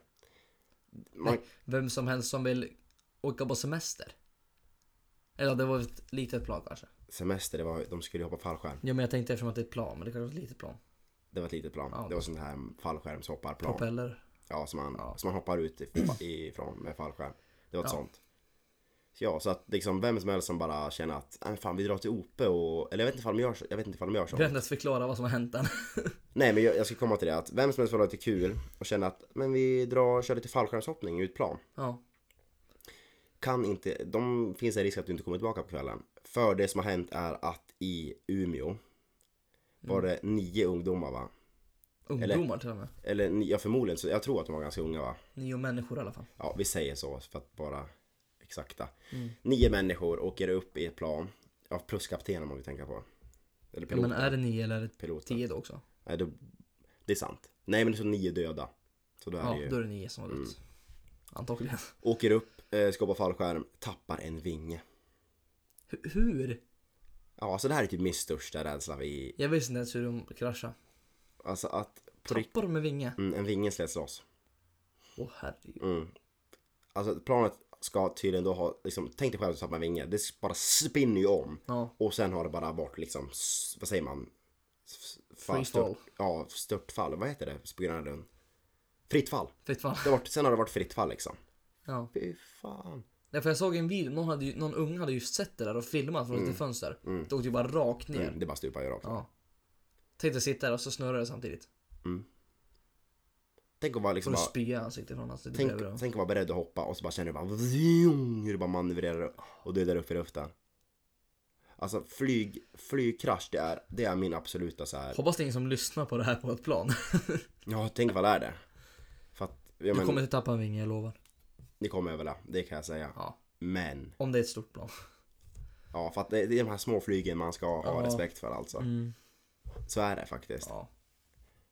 Speaker 1: Man,
Speaker 2: Vem som helst som vill åka på semester. Eller det var ett litet plan kanske.
Speaker 1: Semester, det var, de skulle hoppa fallskärm.
Speaker 2: Ja men jag tänkte eftersom att det är ett plan, men det kanske var ett litet plan.
Speaker 1: Det var ett litet plan.
Speaker 2: Ja.
Speaker 1: Det var sånt här fallskärmshopparplan.
Speaker 2: Propeller.
Speaker 1: Ja, som man,
Speaker 2: Ja.
Speaker 1: som man hoppar ut if- ifrån med fallskärm. Det var ett
Speaker 2: Ja.
Speaker 1: sånt. Så ja, så att liksom vem som helst som bara känner att, "Nej, fan vi drar till Ope och, eller jag vet inte ifall de gör så. Jag vet inte ifall de gör så.
Speaker 2: Du har inte ens förklara vad som har hänt än.
Speaker 1: Nej men jag, jag ska komma till det att vem som helst får ha lite kul och känna att men vi drar, kör lite fallskärmshoppning ut plan.
Speaker 2: ja.
Speaker 1: Kan inte, de finns en risk att du inte kommer tillbaka på kvällen. För det som har hänt är att i Umeå var
Speaker 2: Mm.
Speaker 1: det nio ungdomar va?
Speaker 2: Ungdomar till och med.
Speaker 1: Eller ni- ja, förmodligen, så jag tror att de var ganska unga va?
Speaker 2: Nio människor i alla fall.
Speaker 1: Ja, vi säger så för att bara exakta.
Speaker 2: Mm.
Speaker 1: Nio människor åker upp i ett plan. Ja, plus kaptenen om vi tänker på. Eller
Speaker 2: Ja,
Speaker 1: piloten.
Speaker 2: men är det nio eller är det
Speaker 1: piloten.
Speaker 2: tio då också?
Speaker 1: Nej, då, det är sant. Nej men det är så nio döda. Så då är det ju... Mm.
Speaker 2: Ja, då är det nio som har dött. Antagligen.
Speaker 1: Åker upp, eh, ska hoppa fallskärm, tappar en vinge.
Speaker 2: Hu- Hur?
Speaker 1: Ja, alltså det här är typ min största rädsla vid...
Speaker 2: Jag visste inte ens hur de kraschade.
Speaker 1: Alltså att på rikt-
Speaker 2: Tappar de en vinge?
Speaker 1: mm, en vinge slets loss.
Speaker 2: Åh herregud.
Speaker 1: Mm. Alltså planet ska tydligen då ha, liksom, tänk dig själv att du tappar en vinge. Det s- bara spinner ju om.
Speaker 2: Ja.
Speaker 1: Och sen har det bara varit liksom, s- vad säger man? S-
Speaker 2: Free fall.
Speaker 1: ja, störtfall. Vad heter det på Gröna Lund? Fritt fall.
Speaker 2: Fritt fall.
Speaker 1: Det har varit, sen har det varit fritt fall liksom.
Speaker 2: Ja.
Speaker 1: Fy fan.
Speaker 2: Nej, för jag såg en video, någon, hade ju, någon ung hade ju sett det där och filmat från sitt fönster. Det åkte ju bara rakt ner.
Speaker 1: Mm, det bara stupar ju rakt.
Speaker 2: Ja. Tänkte sitta där och så snurrar det samtidigt.
Speaker 1: Tänk att vara
Speaker 2: Får
Speaker 1: liksom
Speaker 2: du
Speaker 1: bara...
Speaker 2: spya i ansiktet från ansiktet
Speaker 1: Tänk,
Speaker 2: bredvid. då.
Speaker 1: tänk att vara beredd att hoppa och så bara känner du bara vroom, hur du bara manövrerar och du är där uppe i luften. Alltså flyg, flygkrasch det är, det är min absoluta så här.
Speaker 2: Hoppas det är ingen som lyssnar på det här på ett plan.
Speaker 1: Ja, tänk vad är det? För att, ja,
Speaker 2: Du
Speaker 1: men,
Speaker 2: kommer inte tappa en vinge, jag lovar.
Speaker 1: ni kommer överleva, det kan jag säga.
Speaker 2: Ja.
Speaker 1: Men,
Speaker 2: Om det är ett stort plan.
Speaker 1: ja för att det, det är de här små flygen man ska ha
Speaker 2: Ja. Mm.
Speaker 1: respekt för alltså. Så är det faktiskt.
Speaker 2: Ja.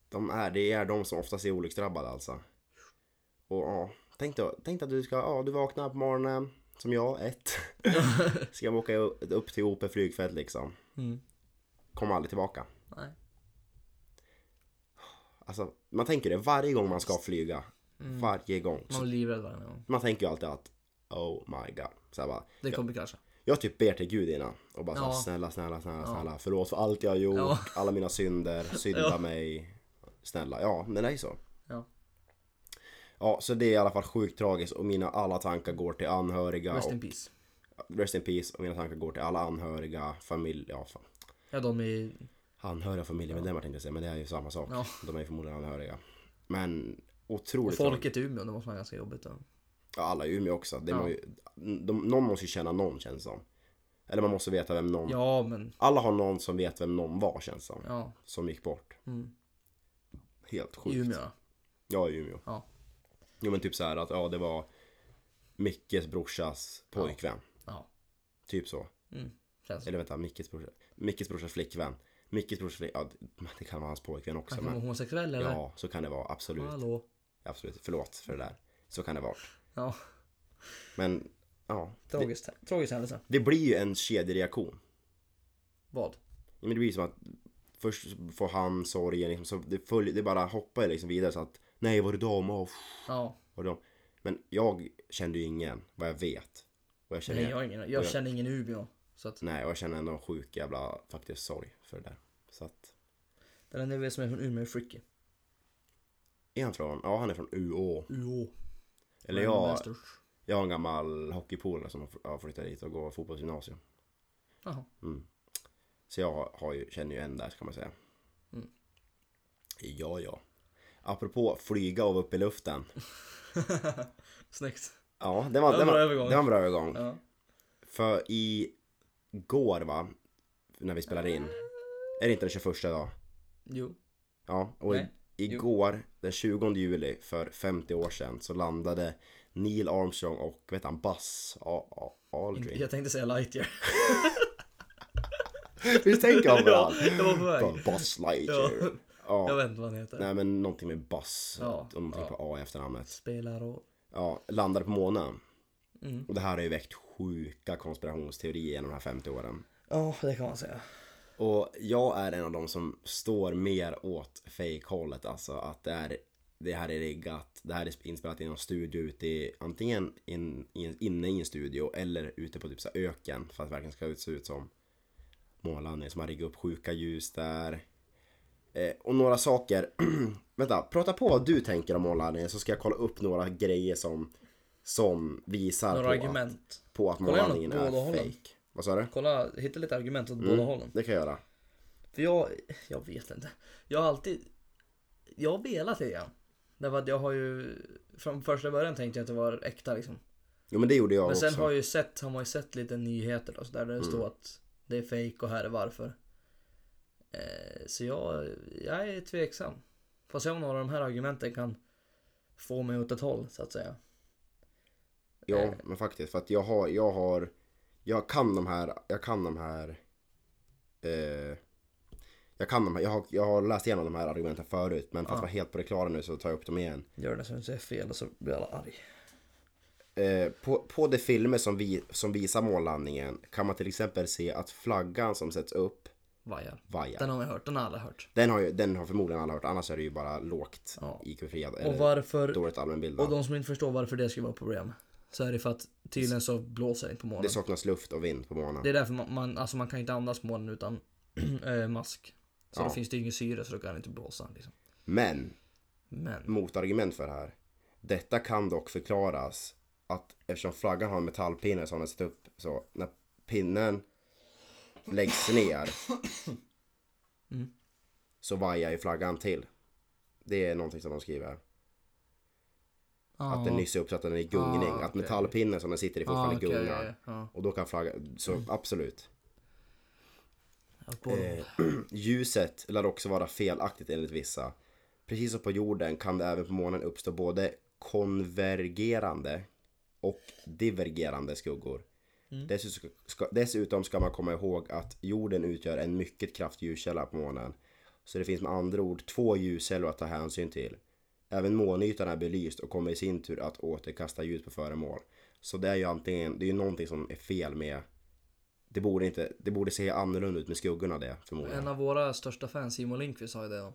Speaker 1: De är, det är de som oftast är olycksdrabbade alltså. Och ja, tänk, då, tänk att du ska, ja du vaknar på morgonen, som jag, ett. ska jag åka upp till OP flygfält liksom.
Speaker 2: Mm.
Speaker 1: Kommer aldrig tillbaka.
Speaker 2: Nej.
Speaker 1: Alltså, man tänker det varje gång man ska flyga.
Speaker 2: Mm.
Speaker 1: Varje gång.
Speaker 2: Man
Speaker 1: Så
Speaker 2: blir livrädd varje gång.
Speaker 1: man tänker ju alltid att oh my god. Så här bara,
Speaker 2: Det kommer krascha.
Speaker 1: jag typ ber till Gud innan och bara så här,
Speaker 2: Ja.
Speaker 1: snälla, snälla, snälla, snälla. Förlåt för allt jag har gjort,
Speaker 2: Ja.
Speaker 1: alla mina synder, synda
Speaker 2: Ja.
Speaker 1: mig. Snälla, ja, men det är ju så.
Speaker 2: Ja.
Speaker 1: Ja, så det är i alla fall sjukt tragiskt och mina alla tankar går till anhöriga.
Speaker 2: Rest
Speaker 1: och,
Speaker 2: in peace.
Speaker 1: rest in peace och mina tankar går till alla anhöriga, familj, ja fan.
Speaker 2: Ja, de är...
Speaker 1: Anhöriga och familjemedlemmar tänkte jag säga, men det är ju samma sak.
Speaker 2: Ja.
Speaker 1: De är ju förmodligen anhöriga. Men otroligt
Speaker 2: Folket i Umeå, det måste vara ganska jobbigt. Då.
Speaker 1: Ja, alla i Umeå också. Det
Speaker 2: Ja.
Speaker 1: må ju, de, någon måste ju känna någon känns det som. Eller man måste veta vem någon...
Speaker 2: Ja, men...
Speaker 1: Alla har någon som vet vem någon var känns det som.
Speaker 2: Ja.
Speaker 1: Som gick bort.
Speaker 2: Mm.
Speaker 1: Helt sjukt.
Speaker 2: I Umeå.
Speaker 1: Jag är i Umeå.
Speaker 2: Ja.
Speaker 1: Jo men typ så här att ja det var Mickes brorsas pojkvän.
Speaker 2: Ja.
Speaker 1: Typ så.
Speaker 2: Mm. Känns
Speaker 1: Eller vänta, Mickes brorsa. Mickes brorsas flickvän. Mickes brorsas flickvän. Ja, det kan vara hans pojkvän också.
Speaker 2: Han kan vara
Speaker 1: Men,
Speaker 2: homosexuell eller?
Speaker 1: ja, så kan det vara. Absolut.
Speaker 2: Hallå?
Speaker 1: Absolut. Förlåt för det där. Så kan det vara.
Speaker 2: Ja,
Speaker 1: Men ja. Det,
Speaker 2: tragiskt. Tragisk händelse.
Speaker 1: det blir ju en kedjereaktion.
Speaker 2: Vad?
Speaker 1: Ja, men det blir ju som att först får han sorgen, liksom, så det, följer, det bara hoppar liksom vidare så att nej var det dem? Åh, pff,
Speaker 2: Ja.
Speaker 1: var det dem? Men jag kände ju ingen vad jag vet. Och jag känner,
Speaker 2: Nej, jag, har ingen, jag känner ingen i Umeå. Så att,
Speaker 1: nej, och jag känner ändå en sjuk jävla faktiskt sorg för det där. Så att,
Speaker 2: den enda jag vet som är från Umeå är Fricky.
Speaker 1: är han från, ja han är från UÅ.
Speaker 2: Uå.
Speaker 1: Eller
Speaker 2: Men de är
Speaker 1: jag,
Speaker 2: störst.
Speaker 1: jag har en gammal hockeypolare som har fr- har flyttat dit och går fotbollsgymnasium.
Speaker 2: Jaha.
Speaker 1: Så jag har, har ju, känner ju en där kan man säga.
Speaker 2: Mm.
Speaker 1: Ja, ja. Apropå flyga och vara uppe i luften.
Speaker 2: Snyggt.
Speaker 1: Ja, det var, det var, det var,
Speaker 2: bra
Speaker 1: en
Speaker 2: övergång.
Speaker 1: bra övergång.
Speaker 2: Ja.
Speaker 1: För i går va, när vi spelade in. Är det inte den 21 idag?
Speaker 2: Jo.
Speaker 1: Ja, och i,
Speaker 2: Nej.
Speaker 1: igår den 20 juli för 50 år sedan så landade Neil Armstrong och vad heter han, Buzz A- A- Aldrin.
Speaker 2: Jag tänkte säga Lightyear.
Speaker 1: Hur tänker han på det? här?
Speaker 2: det var på väg.
Speaker 1: Bara, Buzz Lightyear. Ja.
Speaker 2: Jag vet inte vad han heter.
Speaker 1: Nej men någonting med Buzz
Speaker 2: Ja,
Speaker 1: och någonting
Speaker 2: ja.
Speaker 1: på A i efternamnet.
Speaker 2: Spelar roll.
Speaker 1: Ja, landade på månen.
Speaker 2: Mm.
Speaker 1: Och det här har ju väckt sjuka konspirationsteorier genom de här 50 åren.
Speaker 2: Ja, det kan man säga.
Speaker 1: Och jag är en av de som står mer åt fake-hållet alltså att det, är, det här är riggat, det här är inspelat i någon studio ute i antingen in, in, inne i en studio eller ute på typ så här öken för att verkligen ska se ut som målarna som har riggat upp sjuka ljus där. Eh, och några saker, vänta, prata på vad du tänker om målarna så ska jag kolla upp några grejer som, som visar
Speaker 2: Några
Speaker 1: på,
Speaker 2: argument.
Speaker 1: Att, på att
Speaker 2: Kolla gärna åt
Speaker 1: målningen
Speaker 2: båda
Speaker 1: är
Speaker 2: hållen.
Speaker 1: fake. Vad sa du?
Speaker 2: Kolla, hitta lite argument åt båda hållen.
Speaker 1: Det kan jag göra.
Speaker 2: För jag, jag vet inte. Jag har alltid, jag har velat lite grann. Därför att jag har ju, från första början tänkte jag att det var äkta liksom.
Speaker 1: Jo men det gjorde jag
Speaker 2: Men
Speaker 1: också.
Speaker 2: sen har, jag ju sett, har man ju sett lite nyheter och så där, där det står att det är fake och här är varför. Eh, så jag, jag är tveksam. Får se om några av de här argumenten kan få mig åt ett håll så att säga.
Speaker 1: Ja,
Speaker 2: Eh.
Speaker 1: men faktiskt. För att jag har, jag har, jag kan de här, jag kan de här, eh, jag kan de här, jag har, jag har läst igenom de här argumenten förut. Men för att vara helt på det klara nu så tar jag upp dem igen.
Speaker 2: Gör det så att jag säger fel och så blir alla arg.
Speaker 1: Eh, på, på de filmer som, vi, som visar månlandningen kan man till exempel se att flaggan som sätts upp
Speaker 2: Vajar.
Speaker 1: vajar.
Speaker 2: Den har man hört, den har alla hört.
Speaker 1: Den har, ju, den har förmodligen alla hört, annars är det ju bara lågt
Speaker 2: Ja.
Speaker 1: IQ-friad
Speaker 2: Och
Speaker 1: eller
Speaker 2: varför,
Speaker 1: dåligt allmänbildad.
Speaker 2: och de som inte förstår varför det ska vara ett problem. Så är det för att tydligen så blåser det inte på
Speaker 1: Det
Speaker 2: månen.
Speaker 1: saknas luft och vind på månen.
Speaker 2: Det är därför man, man, alltså man kan inte andas på månen utan eh, mask. Så
Speaker 1: Ja.
Speaker 2: då finns det ingen syre så då kan det inte blåsa liksom.
Speaker 1: Men
Speaker 2: Men.
Speaker 1: motargument för det här. Detta kan dock förklaras att eftersom flaggan har en metallpinne som den sitter upp så när pinnen läggs ner så vajar ju flaggan till. Det är någonting som de skriver. här. Att den nyss är uppsatt, att den är i gungning.
Speaker 2: Ah,
Speaker 1: Att metallpinnen som den sitter i fortfarande
Speaker 2: okej,
Speaker 1: gungar.
Speaker 2: ja, ja. Mm.
Speaker 1: Och då kan flaggan, så absolut.
Speaker 2: Att båda-
Speaker 1: Eh. Ljuset lär också vara felaktigt enligt vissa. Precis som på jorden kan det även på månen uppstå både konvergerande och divergerande skuggor. Dessutom, ska, dessutom ska man komma ihåg att jorden utgör en mycket kraftig ljuskälla på månen. Så det finns med andra ord två ljuskällor att ta hänsyn till. Även månytan är belyst och kommer i sin tur att återkasta ljus på föremål. Så det är ju antingen, det är ju någonting som är fel med det borde, inte, det borde se annorlunda ut med skuggorna det förmodligen.
Speaker 2: En av våra största fans, Simon Lindqvist, sa ju det då.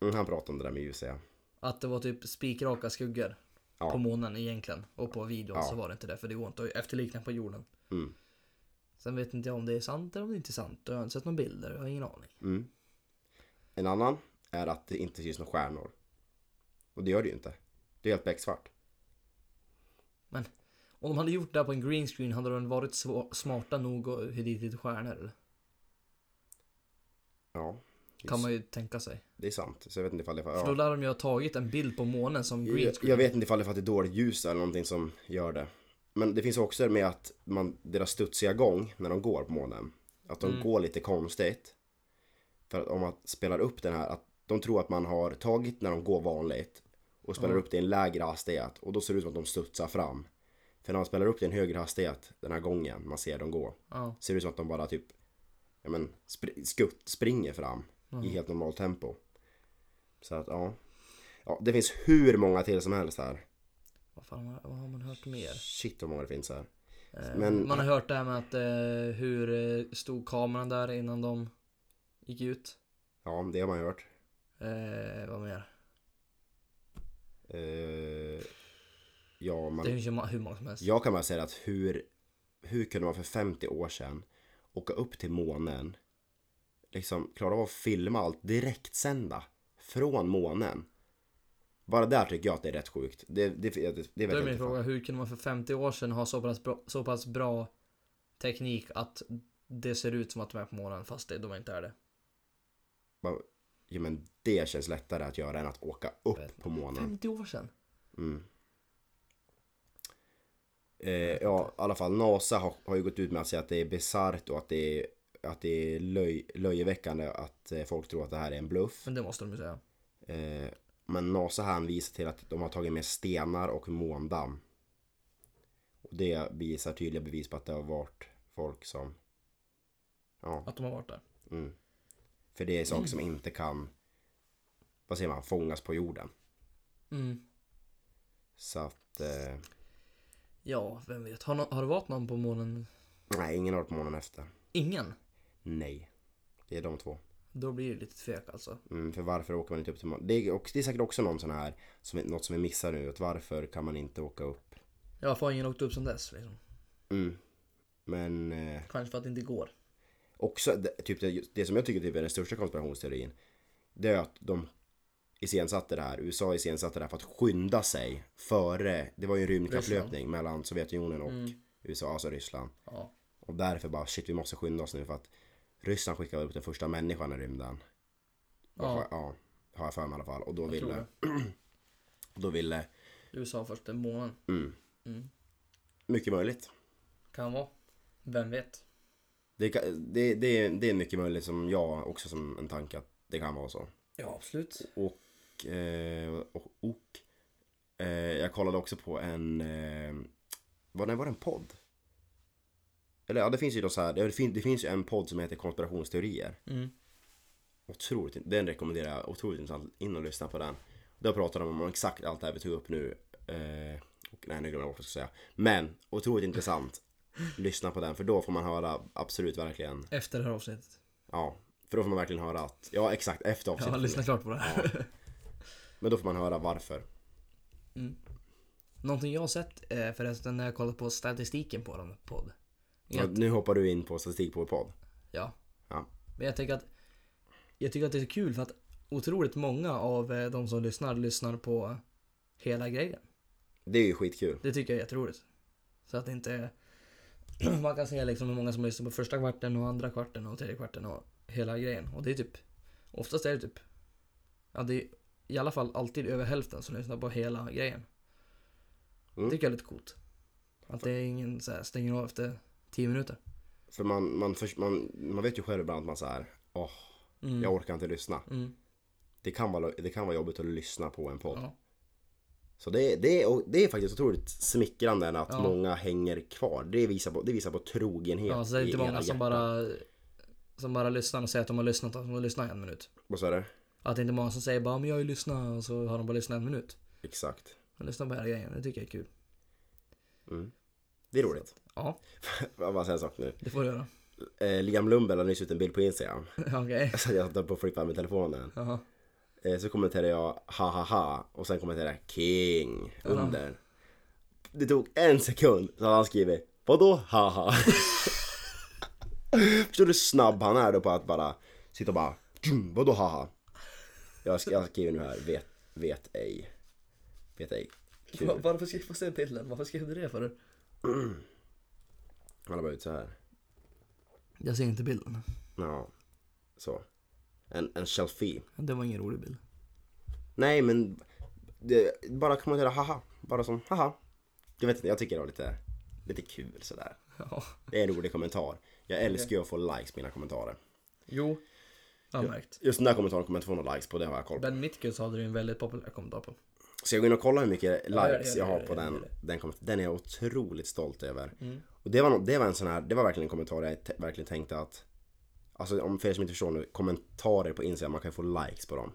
Speaker 1: Mm, han pratade om det där med ljus ja.
Speaker 2: Att det var typ spikraka skuggor.
Speaker 1: Ja.
Speaker 2: På månen egentligen. Och på videon så var det inte det. För det går inte att efterlikna på jorden.
Speaker 1: Mm.
Speaker 2: Sen vet inte jag om det är sant eller om det inte är sant. Jag har inte sett några bilder. Jag har ingen aning.
Speaker 1: Mm. En annan är att det inte syns några stjärnor. Och det gör det ju inte. Det är helt becksvart.
Speaker 2: Men om de hade gjort det här på en green screen hade de varit sva- smarta nog att hyra dit lite stjärnor? Eller?
Speaker 1: Ja,
Speaker 2: Kan man ju tänka sig.
Speaker 1: det är sant. Så jag vet inte ifall det är för...
Speaker 2: För då
Speaker 1: Ja.
Speaker 2: lär de ju ha tagit en bild på månen som green
Speaker 1: Jag,
Speaker 2: screen.
Speaker 1: jag vet inte ifall det är för att det är dåligt ljus eller någonting som gör det. Men det finns också med att man, deras studsiga gång när de går på månen. Att
Speaker 2: Mm.
Speaker 1: de går lite konstigt. För att om man spelar upp den här, att de tror att man har tagit när de går vanligt och spelar upp det i en lägre hastighet och då ser det ut som att de studsar fram. För när man spelar upp det i en högre hastighet den här gången, man ser dem gå,
Speaker 2: Ja,
Speaker 1: ser det ut som att de bara typ ja, men, spr- skutt, springer fram
Speaker 2: Mm.
Speaker 1: i helt normalt tempo. Så att ja. ja, det finns hur många till som helst här.
Speaker 2: vad fan har, vad har man hört mer?
Speaker 1: Shit vad många det finns här.
Speaker 2: Eh,
Speaker 1: Men-
Speaker 2: man har hört det här med att eh, hur eh, stod kameran där innan de gick ut?
Speaker 1: Ja, det har man ju hört.
Speaker 2: Eh, vad mer?
Speaker 1: Eh, ja, man...
Speaker 2: Det finns ju ma- hur många som helst.
Speaker 1: Jag kan bara säga att hur, hur kunde man för 50 år sedan åka upp till månen, liksom klara av att filma allt direktsända från månen? Bara där tycker jag att det är rätt sjukt. Det, det, det, det, det
Speaker 2: Då
Speaker 1: vet
Speaker 2: är
Speaker 1: jag
Speaker 2: min
Speaker 1: inte.
Speaker 2: fråga,
Speaker 1: fan.
Speaker 2: hur kunde man för 50 år sedan ha så pass, bra, så pass bra teknik att det ser ut som att de är på månen fast det, de inte är det?
Speaker 1: Bara, Jo men det känns lättare att göra än att åka upp på månen. Mm.
Speaker 2: 50 år sedan?
Speaker 1: Eh, ja, i alla fall NASA har, har ju gått ut med att säga att det är bisarrt och att det är, att det är löj, löjeväckande att eh, folk tror att det här är en bluff.
Speaker 2: Men det måste de ju säga.
Speaker 1: Eh, men NASA hänvisar till att de har tagit med stenar och måndamm. Och det visar tydliga bevis på att det har varit folk som... Ja,
Speaker 2: Att de har varit där.
Speaker 1: mm. För det är saker som inte kan, vad säger man, fångas på jorden.
Speaker 2: Mm.
Speaker 1: Så att, eh,
Speaker 2: Ja, vem vet. Har, nå- har det varit någon på månen?
Speaker 1: nej, ingen har varit på månen efter.
Speaker 2: Ingen?
Speaker 1: Nej. Det är de två.
Speaker 2: Då blir det lite tvek alltså.
Speaker 1: Mm, för varför åker man inte upp till månen? Det, är också- det är säkert också någon sån här, som, vi- något som vi missar nu, att varför kan man inte åka upp?
Speaker 2: Ja, för ingen åkt upp sedan dess liksom.
Speaker 1: Mm. Men... Eh,
Speaker 2: Kanske för att det inte går.
Speaker 1: också det, typ det, det som jag tycker typ är den största konspirationsteorin det är att de iscensatte det här, USA iscensatte det här för att skynda sig före, det var ju en rymdkapplöpning mellan Sovjetunionen
Speaker 2: Mm.
Speaker 1: och USA, alltså Ryssland
Speaker 2: Ja.
Speaker 1: och därför bara shit vi måste skynda oss nu för att Ryssland skickade upp den första människan i rymden
Speaker 2: Ja.
Speaker 1: ja, ja har jag för mig i alla fall och då
Speaker 2: tror
Speaker 1: ville och då ville, mm,
Speaker 2: USA först en månad. Mm.
Speaker 1: mycket möjligt
Speaker 2: Kan vara. Vem vet?
Speaker 1: det, kan- det, det, det är mycket möjligt som jag också som en tanke att det kan vara så
Speaker 2: Ja, absolut.
Speaker 1: Och, eh, och, och eh, jag kollade också på en, eh, vad nej, var det en podd? Eller ja, det finns ju då så här, det finns, det finns ju en podd som heter konspirationsteorier.
Speaker 2: Mm.
Speaker 1: Otroligt, den rekommenderar jag otroligt intressant, in och lyssna på den. Där pratar de om exakt allt det här vi tog upp nu. Eh, och, nej, nu glömde jag bort vad jag ska säga. Men otroligt intressant. Lyssna på den, för då får man höra absolut verkligen,
Speaker 2: Efter det här avsnittet.
Speaker 1: ja, för då får man verkligen höra att, ja exakt, efter
Speaker 2: Jag har
Speaker 1: avsnittet.
Speaker 2: lyssnat klart på det här.
Speaker 1: Men då får man höra varför.
Speaker 2: Någonting jag har sett eh, förresten när jag kollat på statistiken på den podd.
Speaker 1: Ja, nu hoppar du in på statistik på vår podd.
Speaker 2: Ja.
Speaker 1: Ja.
Speaker 2: Men jag tänker att jag tycker att det är så kul för att otroligt många av eh, de som lyssnar lyssnar på hela grejen.
Speaker 1: Det är ju skitkul.
Speaker 2: Det tycker jag är jätteroligt. Så att det inte är... Man kan se liksom hur många som lyssnar på första kvarten och andra kvarten och tredje kvarten och hela grejen. Och det är typ... Oftast är det typ... Ja, det är i alla fall alltid över hälften som lyssnar på hela grejen.
Speaker 1: Mm.
Speaker 2: Det tycker jag är lite coolt. Att det är ingen så här, stänger av efter 10 minuter.
Speaker 1: För man, man, förs- man, man vet ju själv ibland att man såhär, åh,
Speaker 2: Mm.
Speaker 1: jag orkar inte lyssna.
Speaker 2: Mm.
Speaker 1: Det kan, vara, det kan vara jobbigt att lyssna på en podd.
Speaker 2: Ja.
Speaker 1: Så det, det, och det är faktiskt otroligt smickrande än att
Speaker 2: Ja.
Speaker 1: många hänger kvar. Det visar på, det visar på trogenhet
Speaker 2: Ja, så Alltså, det är
Speaker 1: i
Speaker 2: inte
Speaker 1: era
Speaker 2: många som
Speaker 1: hjärtan.
Speaker 2: bara, som bara lyssnar och säger att de har lyssnat och de lyssnar i en minut.
Speaker 1: Vad sa du?
Speaker 2: Att det inte är många som säger bara men jag har ju lyssnat och så har de bara lyssnat en minut.
Speaker 1: Exakt.
Speaker 2: De lyssnar på hela grejen, det tycker jag är kul.
Speaker 1: Det är roligt.
Speaker 2: Ja,
Speaker 1: Jag bara säger en sak nu.
Speaker 2: det får du göra.
Speaker 1: Eh, Liam Lundberg la nyss ut en bild på Instagram.
Speaker 2: Okej.
Speaker 1: Så jag satt på och flippade med telefonen.
Speaker 2: Jaha.
Speaker 1: Eh, så kommenterade jag ha ha ha och sen kommenterade jag king under. Det tog en sekund så hade han skrivit vadå ha ha? Förstår du hur snabb han är då på att bara sitta och bara "Tjum, vadå ha ha? Jag, sk- jag skriver nu här vet, vet ej. Vet ej. Kul.
Speaker 2: Varför skrev du den bilden? Varför skrev du det för?
Speaker 1: Han har bara ut så här.
Speaker 2: Jag ser inte bilden.
Speaker 1: Ja. Så. En, en selfie.
Speaker 2: Det var ingen rolig bild.
Speaker 1: Nej men det, bara kommentera haha. Bara som haha. Jag vet inte, jag tycker det var lite, lite kul sådär.
Speaker 2: Ja.
Speaker 1: Det är en rolig kommentar. Jag älskar ju att få likes på mina kommentarer.
Speaker 2: Jo. Jag har märkt.
Speaker 1: Just den där kommentaren kommer jag inte få några likes på, det har jag koll på.
Speaker 2: Ben Mitkus hade du en väldigt populär kommentar på.
Speaker 1: Så jag går in och kollar hur mycket
Speaker 2: Ja, gör det,
Speaker 1: likes jag
Speaker 2: gör
Speaker 1: har
Speaker 2: det,
Speaker 1: på
Speaker 2: gör
Speaker 1: den.
Speaker 2: det.
Speaker 1: Den, kommer, den är jag otroligt stolt över.
Speaker 2: Mm.
Speaker 1: Och det var, nog- det var en sån här, det var verkligen en kommentar där jag t- verkligen tänkte att Alltså om för er som inte förstår nu, kommentarer på Instagram, man kan ju få likes på dem.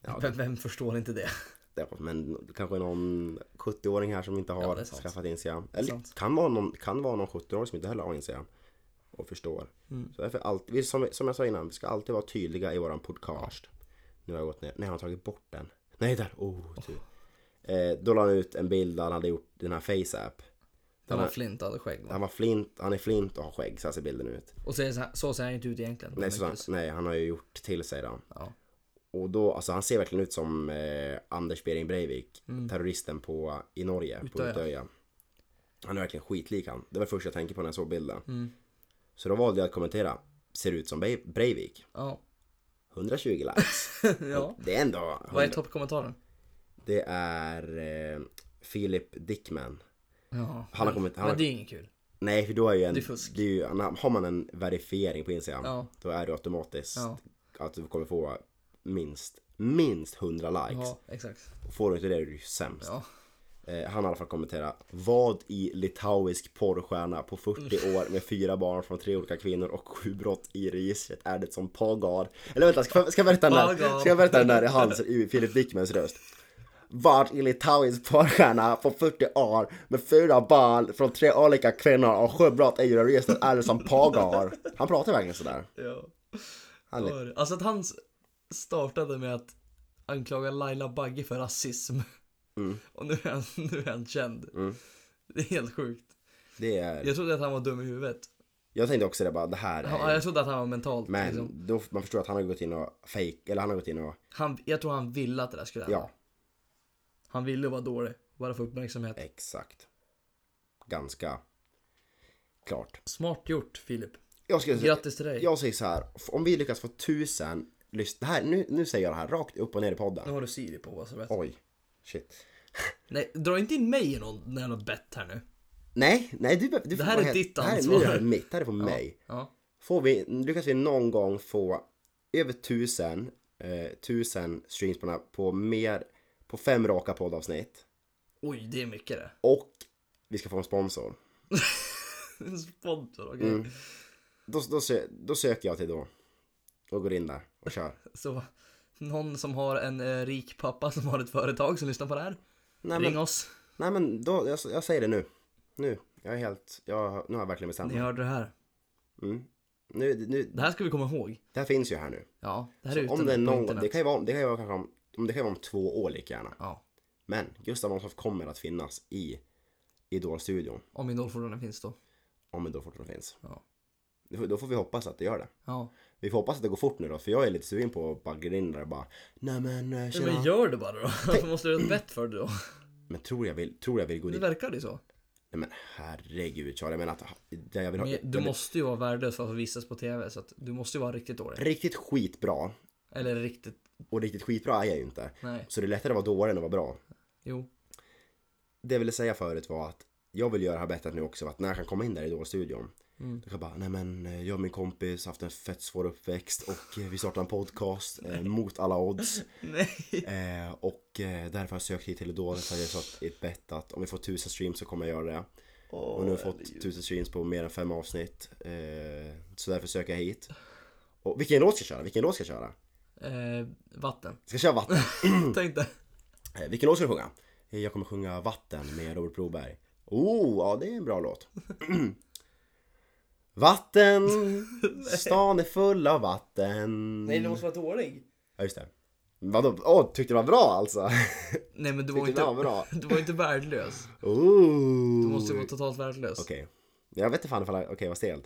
Speaker 1: Ja,
Speaker 2: Vem, vem förstår inte det?
Speaker 1: det, men kanske någon 70-åring här som inte har
Speaker 2: det är sant.
Speaker 1: skaffat Instagram. Eller
Speaker 2: sant.
Speaker 1: kan vara någon, kan vara någon 70-åring som inte heller har Instagram. Och förstår.
Speaker 2: Mm.
Speaker 1: Så därför alltid, vi, som, som jag sa innan, vi ska alltid vara tydliga i våran podcast. Nu har jag gått ner, nej han har tagit bort den. Nej där, oh tur. Eh, då la han ut en bild där han hade gjort den här face-app.
Speaker 2: Den var flint och hade skägg va?
Speaker 1: Han var flint, han är flint och har skägg, så här ser bilden ut.
Speaker 2: Och så, är det så, här, så ser han inte ut egentligen.
Speaker 1: Nej,
Speaker 2: Men
Speaker 1: så,
Speaker 2: just-
Speaker 1: nej han har ju gjort till sig den.
Speaker 2: Ja.
Speaker 1: Och då, alltså han ser verkligen ut som eh, Anders Bering Breivik,
Speaker 2: Mm.
Speaker 1: terroristen på, i Norge, på
Speaker 2: Utöya.
Speaker 1: Utöya. Han är verkligen skitlik han. Det var det första jag tänkte på när jag såg bilden.
Speaker 2: Mm.
Speaker 1: Så då valde jag att kommentera, ser ut som Be- Breivik.
Speaker 2: Ja.
Speaker 1: 120 likes.
Speaker 2: ja.
Speaker 1: Det är ändå...
Speaker 2: Vad är toppkommentaren?
Speaker 1: Det är eh, Philip Dickman.
Speaker 2: Ja.
Speaker 1: Han har kommit- han har-
Speaker 2: Men det är inget kul.
Speaker 1: Nej, för då är ju en...
Speaker 2: Det är fusk.
Speaker 1: är ju, har man en verifiering på Instagram,
Speaker 2: Ja.
Speaker 1: då är det automatiskt
Speaker 2: Ja.
Speaker 1: att du kommer få minst, minst 100 likes.
Speaker 2: Ja, exakt.
Speaker 1: Får du inte det är du ju sämst.
Speaker 2: Ja.
Speaker 1: Eh, han har i alla fall kommenterat Vad i litauisk porrstjärna på 40 år med fyra barn från tre olika kvinnor och sju brott i registret är det som pagar? Eller vänta, ska, jag- ska jag berätta den där?
Speaker 2: Pagar.
Speaker 1: Ska jag berätta den där i hans, i Filip Dickmans röst? Vad i litauisk porrstjärna på 40 år med fyra barn från tre olika kvinnor och sju brott i registret är det som pagar? Han pratar verkligen sådär.
Speaker 2: Ja.
Speaker 1: Han är,
Speaker 2: Var- Alltså att han s- startade med att anklaga Laila Bagge för rasism.
Speaker 1: Mm.
Speaker 2: Och nu är han, nu är han känd. Det är helt sjukt.
Speaker 1: det är,
Speaker 2: Jag trodde att han var dum i huvudet.
Speaker 1: jag tänkte också det bara, det här
Speaker 2: Ja,
Speaker 1: är...
Speaker 2: jag trodde att han var mentalt
Speaker 1: Men
Speaker 2: liksom.
Speaker 1: då, man förstår att han har gått in och fake, eller han har gått in och,
Speaker 2: han, Jag tror han ville att det där skulle hända.
Speaker 1: ja.
Speaker 2: Han ville vara dålig. Bara få uppmärksamhet.
Speaker 1: Exakt. Ganska klart.
Speaker 2: Smart gjort Filip.
Speaker 1: Jag, skulle säga,
Speaker 2: Grattis till dig.
Speaker 1: jag säger så här, om vi lyckas få tusen lys- det här, nu, nu säger jag det här rakt upp och ner i podden.
Speaker 2: Nu har du Siri på oss. vet du.
Speaker 1: Oj, shit.
Speaker 2: Nej, dra inte in mig i någon jävla bett här nu.
Speaker 1: Nej, nej du, du
Speaker 2: Det här
Speaker 1: vad
Speaker 2: är
Speaker 1: heter-
Speaker 2: ditt
Speaker 1: det här är-
Speaker 2: ansvar.
Speaker 1: Nu är det mitt, det här är på mig.
Speaker 2: Ja.
Speaker 1: Får vi, lyckas vi någon gång få över tusen, eh, tusen streams på, den här- på mer, på fem raka poddavsnitt.
Speaker 2: Oj, det är mycket det.
Speaker 1: Och vi ska få en sponsor.
Speaker 2: En Sponsor,
Speaker 1: Mm.
Speaker 2: okej.
Speaker 1: Då, då, sö- då söker jag till då. Och går in där och kör.
Speaker 2: Så någon som har en eh, rik pappa som har ett företag som lyssnar på det här.
Speaker 1: Nej, men-
Speaker 2: Ring oss.
Speaker 1: Nej men då, jag, jag säger det nu. Nu, jag är helt, jag, nu har jag verkligen bestämt
Speaker 2: Ni
Speaker 1: mig.
Speaker 2: hörde det här.
Speaker 1: Mm. Nu, nu,
Speaker 2: Det här ska vi komma ihåg.
Speaker 1: det här finns ju här nu.
Speaker 2: Ja, det här är ute
Speaker 1: Om det är
Speaker 2: nu på
Speaker 1: någon,
Speaker 2: internet.
Speaker 1: det kan ju vara, det kan ju vara kanske om, om det kan ju vara om två år lika gärna.
Speaker 2: Ja,
Speaker 1: Men Gustav Adolfsson kommer att finnas i Idol-studion.
Speaker 2: om idolfordonen finns då.
Speaker 1: Om Idol fortfarande finns.
Speaker 2: Ja.
Speaker 1: Då får- Då får vi hoppas att det gör det.
Speaker 2: Ja.
Speaker 1: Vi får hoppas att det går fort nu då, för jag är lite sugen på att bara gå in där och bara Nej men eh, tjena.
Speaker 2: Men
Speaker 1: Men,
Speaker 2: gör det bara då. Varför måste du ha ett bett för det då?
Speaker 1: tror jag vill, tror jag vill gå
Speaker 2: Det
Speaker 1: dit.
Speaker 2: verkar det så.
Speaker 1: Nej men herregud Charlie, men att det jag vill ha.
Speaker 2: Men
Speaker 1: jag
Speaker 2: du
Speaker 1: vill,
Speaker 2: måste ju vara värdelös för att visas på TV så att du måste ju vara riktigt dålig.
Speaker 1: Riktigt skitbra.
Speaker 2: Eller riktigt...
Speaker 1: Och riktigt skitbra är jag ju inte.
Speaker 2: Nej.
Speaker 1: Så det är lättare att vara dålig än att vara bra.
Speaker 2: Jo.
Speaker 1: Det jag ville säga förut var att jag vill göra det här bättre nu också, att när jag kan komma in där i Idol-studion. Då kan jag bara, nej men eh, jag och min kompis har haft en fett svår uppväxt och eh, vi startade en podcast eh, mot alla odds.
Speaker 2: Nej.
Speaker 1: Eh, och eh, därför har jag sökt hit till Idol för att jag satt i ett bett att om vi får tusen streams så kommer jag göra det. och nu har vi fått tusen streams på mer än fem avsnitt. Eh, så därför söker jag hit. Och vilken låt ska jag köra? Vilken låt ska jag köra?
Speaker 2: Eh, vatten.
Speaker 1: Ska jag köra vatten?
Speaker 2: Tänk dig.
Speaker 1: Eh, Vilken låt ska du sjunga? Eh, Jag kommer sjunga Vatten med Robert Broberg. Oh, ja det är en bra låt. vatten, stan är full av vatten.
Speaker 2: du måste vara dålig.
Speaker 1: Ja just det. Vadå? Åh, tyckte du var bra alltså?
Speaker 2: Nej men du var
Speaker 1: Tyckte det var
Speaker 2: inte...
Speaker 1: bra.
Speaker 2: Du var inte värdelös.
Speaker 1: Ooh.
Speaker 2: Du måste ju vara totalt värdelös.
Speaker 1: Okej. Jag vet inte fan ifall jag... Okej, vad stelt.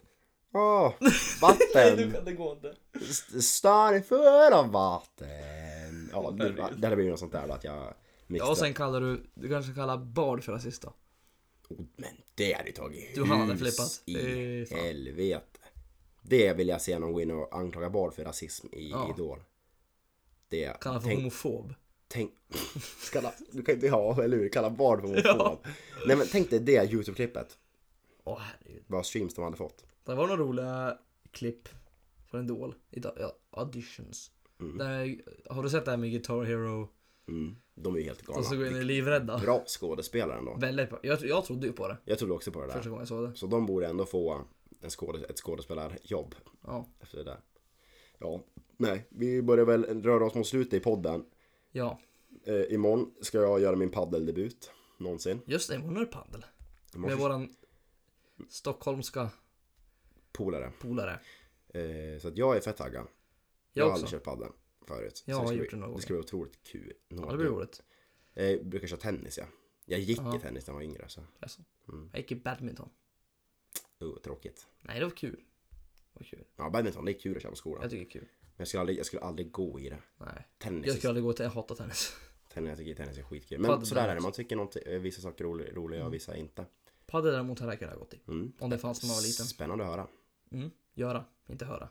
Speaker 1: Åh, vatten.
Speaker 2: det går inte.
Speaker 1: st- Stan är full av vatten. Ja, det, det hade blivit något sånt där då, att jag...
Speaker 2: Ja, och
Speaker 1: mixade.
Speaker 2: sen kallar du, du kanske kallar Bard för rasist då?
Speaker 1: Men det hade ju tagit
Speaker 2: Du, han hade
Speaker 1: hus
Speaker 2: flippat.
Speaker 1: i
Speaker 2: Eh, fan.
Speaker 1: helvete. Det vill jag se någon gå in och anklaga Bard för rasism i
Speaker 2: Ja.
Speaker 1: Idol. Det,
Speaker 2: Kallar för
Speaker 1: tänk,
Speaker 2: homofob?
Speaker 1: tänk, kalla, du kan inte ha, eller hur? Kalla Bard för homofob. Nej men tänk dig det YouTube-klippet.
Speaker 2: Åh herregud.
Speaker 1: Vad streams de hade fått.
Speaker 2: Det var några roliga klipp från Idol, Ida- ja, auditions. Där, har du sett det här med Guitar Hero
Speaker 1: Mm. De är ju helt
Speaker 2: De som går in
Speaker 1: galna.
Speaker 2: i livrädda.
Speaker 1: Bra skådespelare ändå.
Speaker 2: Väldigt bra. Jag, jag trodde ju på det
Speaker 1: Jag trodde också på det
Speaker 2: första
Speaker 1: där.
Speaker 2: gången jag såg det.
Speaker 1: Så de borde ändå få en skåde, ett skådespelarjobb
Speaker 2: Ja.
Speaker 1: efter det där. Ja, nej, vi börjar väl röra oss mot slutet i podden.
Speaker 2: ja.
Speaker 1: Eh, imorgon ska jag göra min paddeldebut någonsin.
Speaker 2: Just det, imorgon är det padel. Med
Speaker 1: Imorgon
Speaker 2: våran stockholmska
Speaker 1: polare.
Speaker 2: polare.
Speaker 1: Eh, så att jag är fett taggad. Jag,
Speaker 2: Jag
Speaker 1: har aldrig
Speaker 2: också.
Speaker 1: kört padel förut.
Speaker 2: Jag
Speaker 1: så
Speaker 2: har
Speaker 1: det ska
Speaker 2: gjort
Speaker 1: bli,
Speaker 2: det några
Speaker 1: Det ska bli otroligt kul.
Speaker 2: Ja, det blir roligt.
Speaker 1: Eh, Jag brukar köra tennis ja. Jag gick
Speaker 2: Ja.
Speaker 1: i tennis när jag var yngre så.
Speaker 2: Alltså.
Speaker 1: Mm.
Speaker 2: Jag gick i badminton.
Speaker 1: Uh, tråkigt.
Speaker 2: Nej, det var kul. Det var kul.
Speaker 1: Ja, badminton det är kul att köra på skolan.
Speaker 2: Jag tycker det är kul.
Speaker 1: Men jag skulle aldrig, jag skulle aldrig gå i det.
Speaker 2: Nej.
Speaker 1: Tennis,
Speaker 2: Jag skulle aldrig gå till, jag hatar tennis.
Speaker 1: tennis, jag tycker tennis är skitkul. Men
Speaker 2: Padel
Speaker 1: sådär är det,
Speaker 2: däremot.
Speaker 1: man tycker något, eh, vissa saker är roliga, roliga
Speaker 2: Mm.
Speaker 1: och vissa inte.
Speaker 2: Padel däremot hade jag kunnat gått i.
Speaker 1: Mm.
Speaker 2: Om det fanns när man var liten.
Speaker 1: Spännande att höra.
Speaker 2: Mm. Göra, inte höra.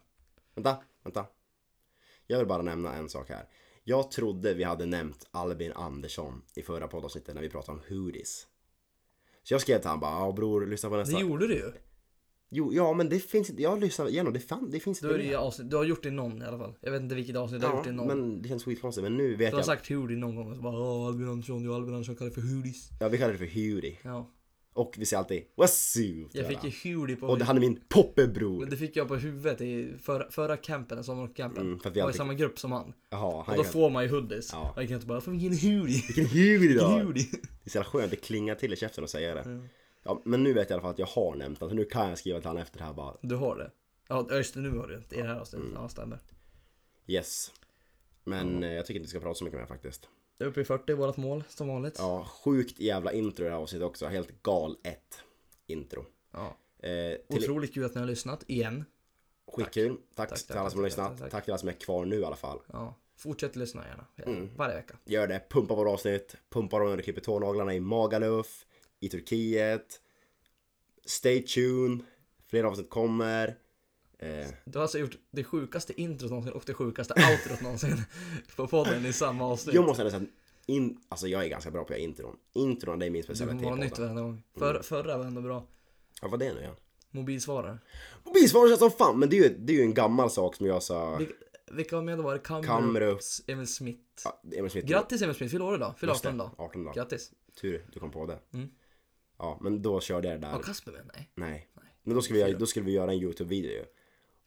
Speaker 1: Vänta, vänta. Jag vill bara nämna en sak här. Jag trodde vi hade nämnt Albin Andersson i förra poddavsnittet när vi pratade om hoodies. Så jag skrev till han bara, ja bror, lyssna på
Speaker 2: Det
Speaker 1: nästa.
Speaker 2: gjorde du ju.
Speaker 1: Jo, ja men det finns inte, jag lyssnade igenom, det, fan, det finns
Speaker 2: Du har,
Speaker 1: inte
Speaker 2: ju i
Speaker 1: med.
Speaker 2: avsnitt, du har gjort det i någon i alla fall. Jag vet inte vilket avsnitt du har
Speaker 1: Ja,
Speaker 2: gjort det i någon.
Speaker 1: men det känns skitkonstigt, men nu vet
Speaker 2: Du har
Speaker 1: jag.
Speaker 2: sagt hoodie någon gång och så bara Åh, Albin Andersson, du Albin Andersson kallar det för hoodies.
Speaker 1: Ja, vi kallar det för hoodie.
Speaker 2: Ja.
Speaker 1: Och vi säger alltid, what's up?
Speaker 2: Jag
Speaker 1: jävla."
Speaker 2: fick ju hoodie på
Speaker 1: Och det, han är min poppebror.
Speaker 2: Men det fick jag på huvudet i förra, förra campen, sommarcampen.
Speaker 1: Mm, för att vi
Speaker 2: jag var i
Speaker 1: alltid-
Speaker 2: samma grupp som han.
Speaker 1: Jaha, han
Speaker 2: Och då
Speaker 1: kan-
Speaker 2: får man ju hoodies.
Speaker 1: Ja.
Speaker 2: Och jag kan inte bara, "Fan, vilken hoodie!
Speaker 1: Vilken hoodie du
Speaker 2: Vilken
Speaker 1: har!
Speaker 2: hoodie!
Speaker 1: Det är så jävla skönt, det klingar till i käften att säga det. Ja, men nu vet jag i alla fall att jag har nämnt honom, så nu kan jag skriva till honom efter det här bara.
Speaker 2: Du har det. Ja just det, nu har du det. I det här avsnittet.
Speaker 1: Mm.
Speaker 2: Ja, stämmer.
Speaker 1: Yes. Men eh, jag tycker inte vi ska prata så mycket mer faktiskt.
Speaker 2: Det är uppe i 40, vårat mål, som vanligt.
Speaker 1: Ja, sjukt jävla intro i det här avsnittet också. Helt galet intro.
Speaker 2: Ja.
Speaker 1: Eh, till,
Speaker 2: Otroligt kul att ni har lyssnat, igen.
Speaker 1: skitkul. Tack,
Speaker 2: Tack,
Speaker 1: till alla
Speaker 2: tack,
Speaker 1: som har
Speaker 2: tack,
Speaker 1: lyssnat.
Speaker 2: tack, tack.
Speaker 1: Tack till alla som är kvar nu i alla fall.
Speaker 2: Ja. Fortsätt lyssna gärna.
Speaker 1: Mm.
Speaker 2: Varje vecka.
Speaker 1: Gör det. Pumpa våra avsnitt. Pumpa dem när du klipper tånaglarna i Magaluf, i Turkiet. Stay tuned. Fler avsnitt kommer. Eh,
Speaker 2: Du har alltså gjort det sjukaste introt någonsin och det sjukaste outrot någonsin på podden i samma avsnitt.
Speaker 1: jag måste ändå säga att in, alltså jag är ganska bra på att göra intron. Intron det är Mm. min
Speaker 2: Det
Speaker 1: specialitet.
Speaker 2: kommer vara nytt
Speaker 1: podden.
Speaker 2: varenda gång. För, förra var ändå bra.
Speaker 1: Ja, vad är det nu igen?
Speaker 2: Mobilsvarare.
Speaker 1: Mobilsvarare känns som fan, men det är ju, det är ju en gammal sak som jag sa.
Speaker 2: Vilka, vilka var med då? Var det Kamrups,
Speaker 1: Kamrups.
Speaker 2: Emil Smith?
Speaker 1: Ja, Emil Smith.
Speaker 2: Grattis Emil Smith, fyll år idag. Fyll
Speaker 1: Just
Speaker 2: 18
Speaker 1: det,
Speaker 2: idag.
Speaker 1: 18 dagar.
Speaker 2: Grattis.
Speaker 1: Tur du kom på det.
Speaker 2: Mm.
Speaker 1: Ja, men då körde jag det där.
Speaker 2: Var Kasper med? Nej.
Speaker 1: Nej. Men då skulle, vi, göra- då skulle vi göra en YouTube-video ju.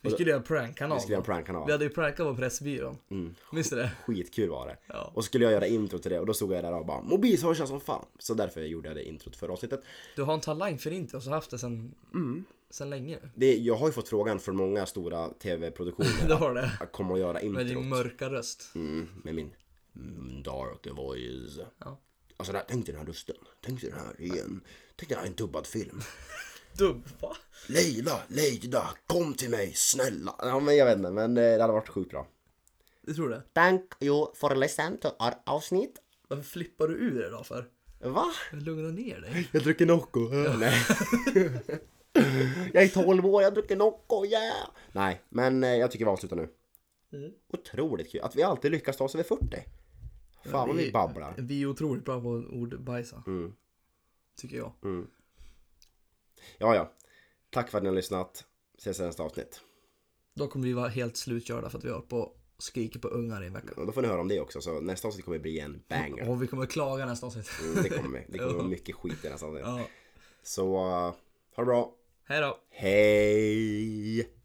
Speaker 2: Vi skulle göra en prankkanal.
Speaker 1: Vi skulle göra en
Speaker 2: då.
Speaker 1: prankkanal.
Speaker 2: Vi hade ju prankat på Pressbyrån.
Speaker 1: Mm.
Speaker 2: Minns du det?
Speaker 1: Skitkul var det.
Speaker 2: Ja.
Speaker 1: Och så skulle jag göra intro till det och då stod jag där och bara mobilsvarare känns som fan. Så därför gjorde jag det introt för avsnittet.
Speaker 2: Du har en talang för inte och så har haft det sen,
Speaker 1: Mm.
Speaker 2: sen länge.
Speaker 1: Det, jag har ju fått frågan från många stora tv-produktioner
Speaker 2: Du har det.
Speaker 1: att komma och göra
Speaker 2: Med din
Speaker 1: introt.
Speaker 2: mörka röst.
Speaker 1: Mm, med min mm, dark voice.
Speaker 2: Ja.
Speaker 1: Alltså där, tänk dig den här rösten. Tänk dig den här igen. Tänk dig den här i en dubbad film.
Speaker 2: Dubb, va?
Speaker 1: Leila, Leila, kom till mig, snälla. Ja, men jag vet inte, men eh, det hade varit sjukt bra.
Speaker 2: Du tror det?
Speaker 1: Thank you for listening to our avsnitt.
Speaker 2: Varför flippar du ur idag för?
Speaker 1: Va?
Speaker 2: Lugna ner dig.
Speaker 1: Jag dricker Nocco. Nej. jag är 12 år, jag dricker Nocco, yeah! Nej, men eh, jag tycker vi avslutar nu.
Speaker 2: Mm.
Speaker 1: Otroligt kul att vi alltid lyckas ta oss över 40. Fan vad vi babblar.
Speaker 2: Vi är otroligt bra på ordbajsa.
Speaker 1: Mm.
Speaker 2: Tycker jag.
Speaker 1: Ja, ja. Tack för att ni har lyssnat. Ses i nästa avsnitt.
Speaker 2: Då kommer vi vara helt slutkörda för att vi har hållit på och skrikit på ungar i en vecka.
Speaker 1: Och Då får ni höra om det också, så nästa avsnitt kommer bli en banger.
Speaker 2: Och vi kommer klaga nästa avsnitt.
Speaker 1: Mm, det kommer vi. Det kommer vara mycket skit i nästa avsnitt.
Speaker 2: Ja.
Speaker 1: Så, eh, ha det bra.
Speaker 2: Hej då!
Speaker 1: Hej!